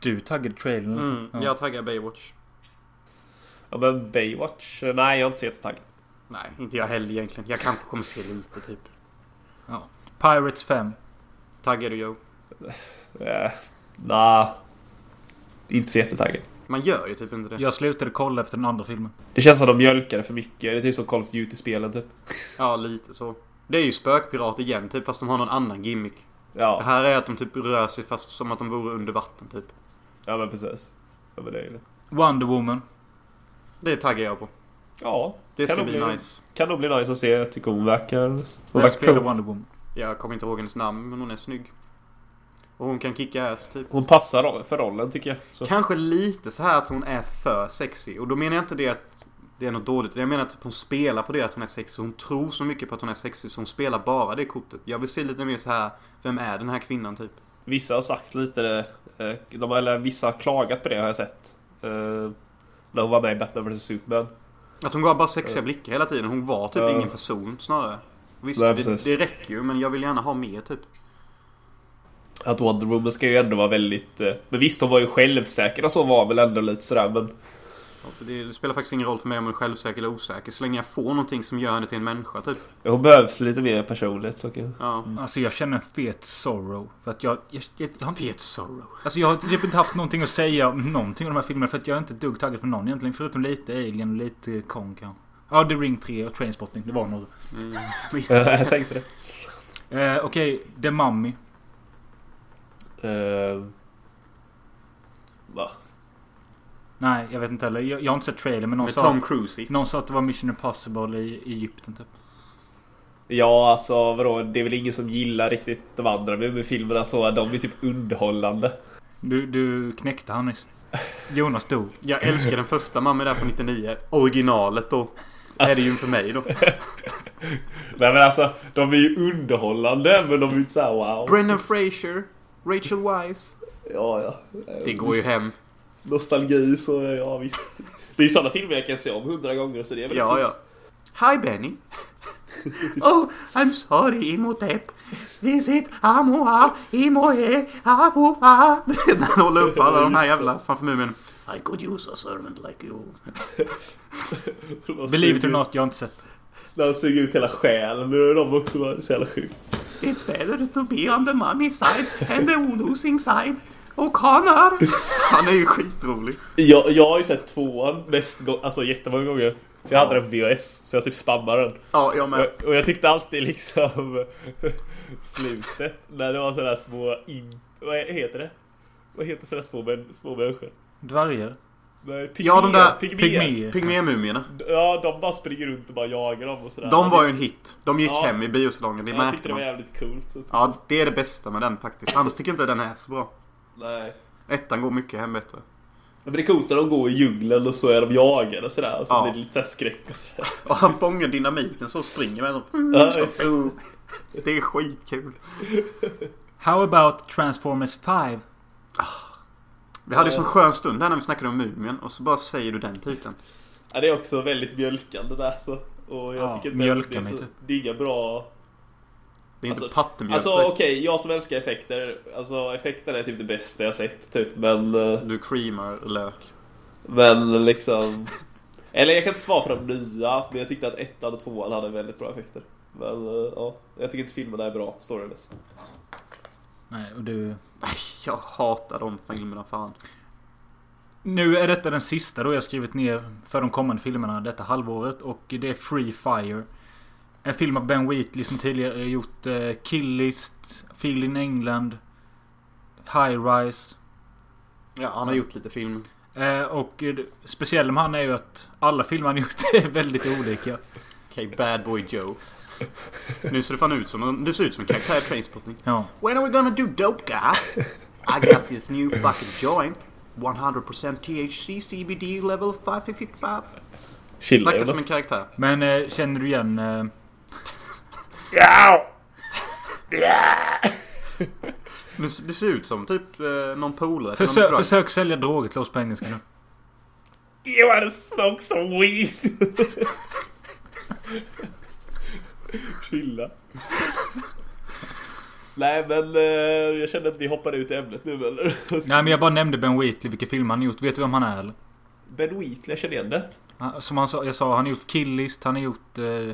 S2: du taggade trailern.
S1: Mm,
S2: Ja.
S1: Jag taggar Baywatch.
S3: Ja, men Baywatch? Nej, jag är inte så jättetaggad.
S1: Nej, inte jag heller egentligen. Jag kanske kommer se lite typ.
S2: Pirates 5.
S1: Taggar du Joe?
S3: Eh, nah. Inte så jättetaggad.
S1: Man gör ju typ inte det.
S2: Jag slutade kolla efter den andra filmen.
S3: Det känns som de mjölkade för mycket. Det är typ som Call of Duty-spelen typ.
S1: Ja, lite så. Det är ju spökpirat igen typ, fast de har någon annan gimmick. Det
S3: Ja,
S1: här är att de typ rör sig fast som att de vore under vatten typ.
S3: ja men precis. Ja, men det är ju det.
S2: Wonder Woman.
S1: Det taggar jag på.
S3: Ja,
S1: Det ska
S3: Kan de
S1: bli
S3: bli-
S1: nice.
S3: kan nog bli nice att se. Jag tycker hon verkar... Hon
S2: Vem
S3: verkar
S2: spelar
S3: cool.
S2: Wonder Woman?
S1: Jag kommer inte ihåg hennes namn, men hon är snygg. Och hon kan kicka ass typ.
S3: Hon passar ro- för rollen tycker jag. Så.
S1: Kanske lite så här att hon är för sexy. Och då menar jag inte det att det är något dåligt. Jag menar att hon spelar på det att hon är sexy. Hon tror så mycket på att hon är sexy så hon spelar bara det kortet. Jag vill se lite mer så här. Vem är den här kvinnan typ?
S3: Vissa har sagt lite det. eh, De, eller vissa har klagat på det har jag sett. eh, när hon var med i Batman vs Superman.
S1: Att hon gav bara sexiga blickar hela tiden. Hon var typ
S3: Ja.
S1: ingen person snarare. Visst,
S3: Nej,
S1: det,
S3: precis.
S1: det räcker ju men jag vill gärna ha mer typ.
S3: Att Wonder Woman ska ju ändå vara väldigt... eh, Men visst, hon var ju självsäker och så var väl ändå lite sådär men...
S1: Ja, för Det, det spelar faktiskt ingen roll för mig om jag är självsäker eller osäker. Så länge jag får någonting som gör henne till en människa typ.
S3: Hon behövs lite mer personligt så kan
S1: Ja.
S2: Alltså jag känner en fet sorrow. För att jag... jag, jag, jag, har inte-
S1: Fet sorrow.
S2: alltså jag har typ inte haft någonting att säga om någonting av de här filmerna. För att jag är inte ett dugg taggad på någon egentligen. Förutom lite Alien och lite Kong kanske. Ja, The Ring 3 och Trainspotting. Det var några.
S3: Mm. jag tänkte det.
S2: Eh, Okej, The Mummy.
S3: Eh, va?
S2: Nej, jag vet inte heller. Jag, jag har inte sett trailern men någon
S1: Med
S2: sa...
S1: Tom Cruise i.
S2: Någon sa att det var Mission Impossible i Egypten typ.
S3: Ja, alltså vadå? Det är väl ingen som gillar riktigt de andra med, med filmerna så. De är typ underhållande.
S2: Du, du knäckte han nyss. Jonas dog.
S1: Jag älskar den första mamma där från 99. Originalet då. Är det ju för mig då.
S3: Nej men alltså, de är ju underhållande men de är ju inte såhär wow.
S1: Brendan Fraser. Rachel Wise.
S3: Ja, ja.
S1: Det går ju hem.
S3: Nostalgi så ja visst. Det är ju sådana filmer jag kan se om hundra gånger så det är väl
S1: Ja, ja. Hi Benny. oh, I'm sorry Imhotep. This is Amoa Imoe Afofa. Han håller upp alla de här jävla framför mumien. I could use a servant like you.
S2: Believe it or not, jag har inte sett.
S3: När han suger ut hela själen. Nu är de också bara så jävla sjukt.
S1: It's better to be on the mummy side and the losing side. Och Connor. Han är ju skitrolig.
S3: Jag, jag har ju sett tvåan mest gång, alltså jättemånga gånger. För jag hade den på VHS så jag typ spammade den.
S1: Ja, jag med.
S3: Och, och jag tyckte alltid liksom slutet när det var sådana små in... Vad heter det? Vad heter sådana små, män, små människor?
S2: Dvärgar?
S3: Nej,
S1: Ja, de där
S3: pygméer.
S2: Pygméer?
S1: Pygmémumierna.
S3: Ja, de bara springer runt och bara jagar dem och sådär.
S1: De var ju en hit. De gick
S3: Ja.
S1: hem i biosalongen. Det
S3: Jag tyckte
S1: märkte
S3: det var
S1: man.
S3: jävligt coolt. Så,
S1: Ja, det är det bästa med den faktiskt. Annars tycker jag inte den är så bra.
S3: nej.
S1: Ettan går mycket hem bättre.
S3: Men det är coolt när de går i djungeln och så är de jagade och sådär. Och så
S1: Ja.
S3: blir det lite såhär skräck och sådär.
S1: Och han fångar dynamiten så och springer med den.
S3: Ja,
S1: Det är skitkul.
S2: How about Transformers 5?
S1: Vi hade ju sån skön stund där när vi snackade om Mumien och så bara säger du den titeln.
S3: Ja, det är också väldigt mjölkande där så. Och jag
S2: Ja,
S3: tycker inte
S2: mjölka
S3: ens det är
S2: mig
S3: så...
S2: typ.
S3: Det är inga bra...
S1: Det är inte
S3: Alltså-
S1: pattemjölk.
S3: Alltså okej, jag som älskar effekter. Alltså effekterna är typ det bästa jag sett typ. Men, eh,
S1: Du creamar lök.
S3: men liksom... Eller jag kan inte svara för de nya, men jag tyckte att ettan och tvåan hade väldigt bra effekter. Men eh, ja, jag tycker inte filmerna är bra, storyless.
S2: Nej, och du...
S1: Nej, Jag hatar de filmerna fan.
S2: Nu är detta den sista då jag skrivit ner för de kommande filmerna detta halvåret. Och det är Free Fire. En film av Ben Wheatley som tidigare gjort eh, Kill List, Feel in England, High Rise.
S1: Ja, han har gjort lite film.
S2: Eh, och eh, det speciella med han är ju att alla filmer han gjort är väldigt olika.
S1: Okej, Bad Boy Joe. Nu ser du fan ut som, du ser ut som en karaktär i Trainspotting.
S2: Ja.
S1: When are we gonna do dope, guy? I got this new fucking joint. 100% THC CBD level 555.
S3: Chilla
S1: Verkar som en
S3: Jonas.
S1: karaktär.
S2: Men eh, känner du igen... Eh,
S1: Men s- det ser ut som typ eh, någon polare. till någon
S2: försök,
S1: drag.
S2: försök sälja droger till oss på engelska nu.
S3: You wanna smoke some weed? Chilla. Nej men eh, jag känner att vi hoppar ut i ämnet nu eller?
S2: Nej men jag bara nämnde Ben Wheatley, vilka filmer han har gjort. Vet du vem han är eller?
S3: Ben Wheatley, jag känner igen det.
S2: Han- Som han sa, jag sa, han har gjort Kill List, han har gjort... Eh,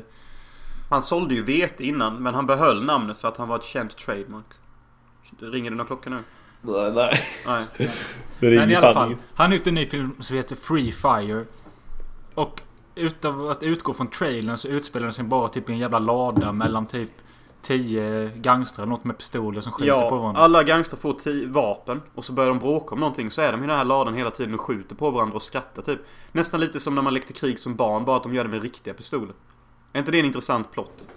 S1: Han sålde ju vete innan men han behöll namnet för att han var ett känt trademark. Ringer det någon klocka nu?
S3: Nej, nej.
S1: Nej.
S3: Det
S2: men i alla fall. Han har gjort en ny film som heter Free Fire. Och utav att utgå från trailern så utspelar den sig bara typ i en jävla lada mellan typ 10 gangstrar, något med pistoler som skjuter på
S1: Ja,
S2: varandra.
S1: alla gangster får ti- vapen och så börjar de bråka om någonting så är de i den här ladan hela tiden och skjuter på varandra och skrattar typ. Nästan lite som när man lekte krig som barn bara att de gör det med riktiga pistoler. Är inte det en intressant plott?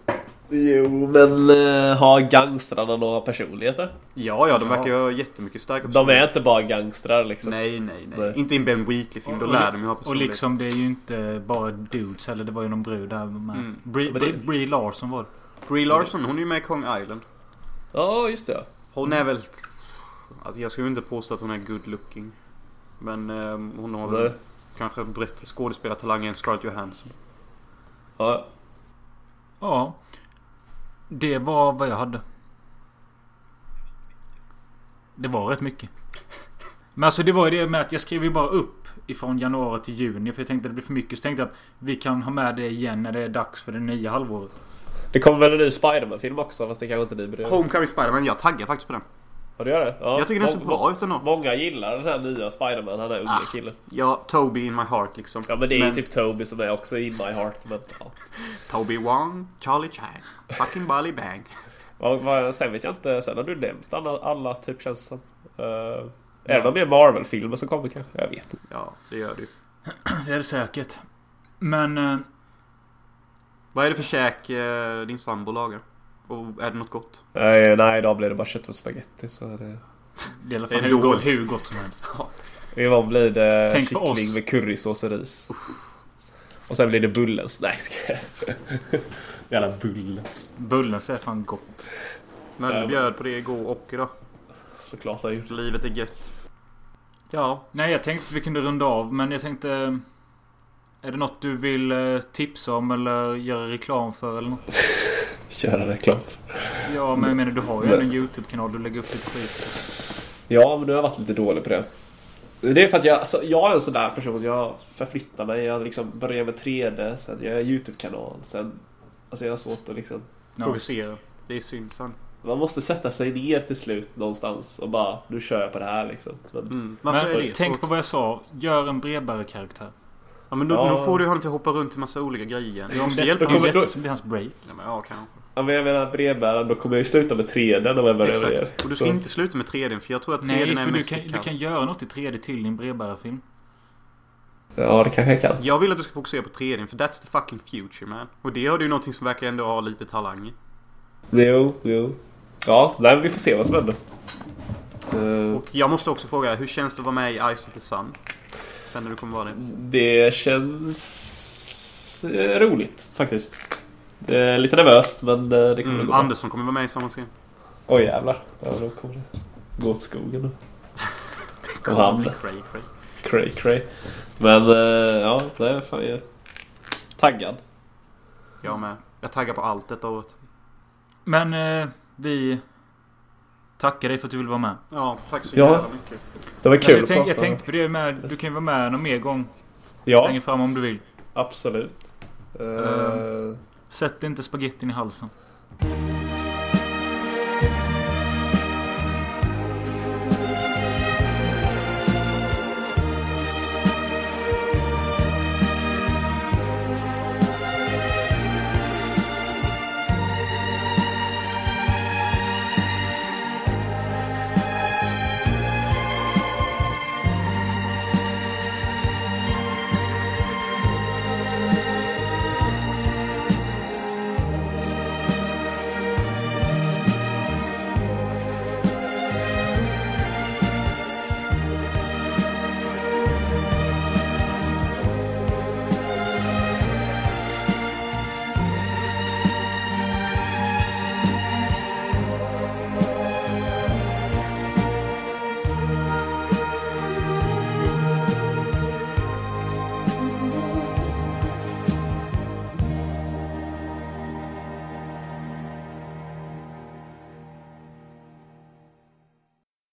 S3: Jo men eh, har gangstrarna några personligheter?
S1: Ja, ja, de
S2: Ja.
S1: verkar ju ha jättemycket starka
S3: De är inte bara gangstrar liksom.
S1: Nej, nej, nej.
S3: Nej.
S1: Inte i en Ben Wheatley-film, då
S2: Och-
S1: lär de ju ha
S2: Och
S1: personlighet.
S2: liksom det är ju inte bara dudes heller. Det var ju någon brud där med.
S1: Mm.
S2: Brie,
S3: Men det-
S2: Brie, Brie Larson var det.
S1: Brie Larson, hon är ju med i Kong Island.
S3: Ja just det.
S1: Hon är väl... Alltså jag skulle inte påstå att hon är good looking. Men eh, hon har
S3: Nej.
S1: väl kanske bättre skådespelartalang än Scarlett Johansson.
S3: Ja.
S2: Ja. Det var vad jag hade. Det var rätt mycket. Men alltså det var ju det med att jag skrev ju bara upp ifrån januari till juni. För jag tänkte att det blir för mycket. Så tänkte jag att vi kan ha med det igen när det är dags för det nya halvåret.
S3: Det kommer väl en ny Spiderman-film också fast det kanske inte ni bryr er om.
S1: Homecoming Spider-Man. Jag taggar faktiskt på den.
S3: Ja, det gör det? Ja.
S1: Jag tycker den ser
S3: Må-
S1: bra ut ändå.
S3: Många gillar den här nya Spiderman, den här unga
S1: Ah.
S3: killen.
S1: Ja, Toby in my heart liksom.
S3: Ja men det är ju typ Toby som är också in my heart. Men, ja.
S1: Toby Wong, Charlie Chan, fucking Bally Bang.
S3: vad, vad, sen vet jag inte, sen har du nämnt alla, alla typ känns som. Eh, Är det några mer Marvel-filmer som kommer kanske? Jag vet inte.
S1: Ja, det gör du.
S2: Det är det säkert. Men... eh,
S1: Vad är det för käk eh, din sambo lagar? Och är det något gott?
S3: Nej, nej, idag blir det bara kött och spagetti så det...
S2: Det är i alla
S1: Det är
S2: fall hur
S1: dåligt.
S2: gott, hur gott som helst.
S3: Imorgon blir det
S2: Tänk på
S3: eh, kyckling
S2: oss.
S3: med currysås och ris. Och sen blir det bullens. Nej, ska jag Jävla bullens.
S2: Bullens är fan gott.
S1: Mölle
S3: Ja.
S1: bjöd på det igår och idag.
S3: Såklart har jag gjort.
S1: Livet är gött. Ja.
S2: Nej jag tänkte att vi kunde runda av men jag tänkte... eh, Är det något du vill eh, tipsa om eller göra reklam för eller något?
S3: Köra reklam.
S2: Ja, men jag menar du har ju ändå en YouTube-kanal. Du lägger upp lite skit.
S3: Ja, men du har varit lite dålig på det. Det är för att jag, alltså, jag är en sån där person. Jag förflyttar mig. Jag liksom börjar med 3D. Sen gör jag YouTube-kanal. Sen... Alltså jag har svårt att liksom...
S2: Ja.
S1: Provocera. Det är synd fan.
S3: Man måste sätta sig ner till slut någonstans och bara nu kör jag på det här liksom. Men,
S1: Mm. Varför är
S2: Men
S1: det
S2: tänk
S1: svårt?
S2: på vad jag sa. Gör en bredare karaktär.
S1: Ja men då,
S3: Ja.
S1: då får du honom till att hoppa runt i massa olika grejer. Du
S2: Om
S1: måste
S2: det
S1: hjälpa
S2: hjälper
S1: honom.
S2: kommer,
S3: kommer-
S2: så blir hans break.
S1: Ja, men, ja kanske.
S3: ja, men jag menar brevbäraren, då kommer jag ju sluta med 3D när man börjar med det.
S1: Exakt. Och du ska
S3: Så-
S1: inte sluta med 3D för jag tror att 3D
S2: Nej,
S1: är
S2: för du
S1: mest
S2: kan,
S1: ditt
S2: du kan göra något i 3D till din bredbärarfilm.
S3: Ja, det kanske jag kan.
S1: Jag vill att du ska fokusera på 3D för that's the fucking future man. Och det har du ju någonting som verkar ändå ha lite talang i.
S3: Jo, jo. Ja, nej, men vi får se vad som händer. Eh,
S1: Och jag måste också fråga, hur känns det att vara med i Ice of the Sun? Sen när du kommer vara det.
S3: det känns eh, roligt faktiskt. Det är lite nervöst, men eh, det kommer
S1: Mm,
S3: gå bra.
S1: Andersson kommer vara med i samma scen.
S3: Oj jävlar. Ja, då kommer det gå åt skogen. då. Och han,
S1: Cray, cray.
S3: cray cray. Men eh, ja, nej, fan jag är taggad.
S1: Jag med. Jag taggar på allt detta året.
S2: Men eh, vi tackar dig för att du vill vara med.
S1: Ja, tack så
S3: Ja.
S1: jävla mycket.
S3: Det var
S2: Alltså,
S3: kul
S2: jag, tänk,
S3: att
S2: jag
S3: prata.
S2: tänkte på det med. Du kan ju vara med någon mer gång
S3: Ja,
S2: längre fram om du vill.
S3: absolut. Eh,
S2: Ehm. Sätt inte spagettin i halsen.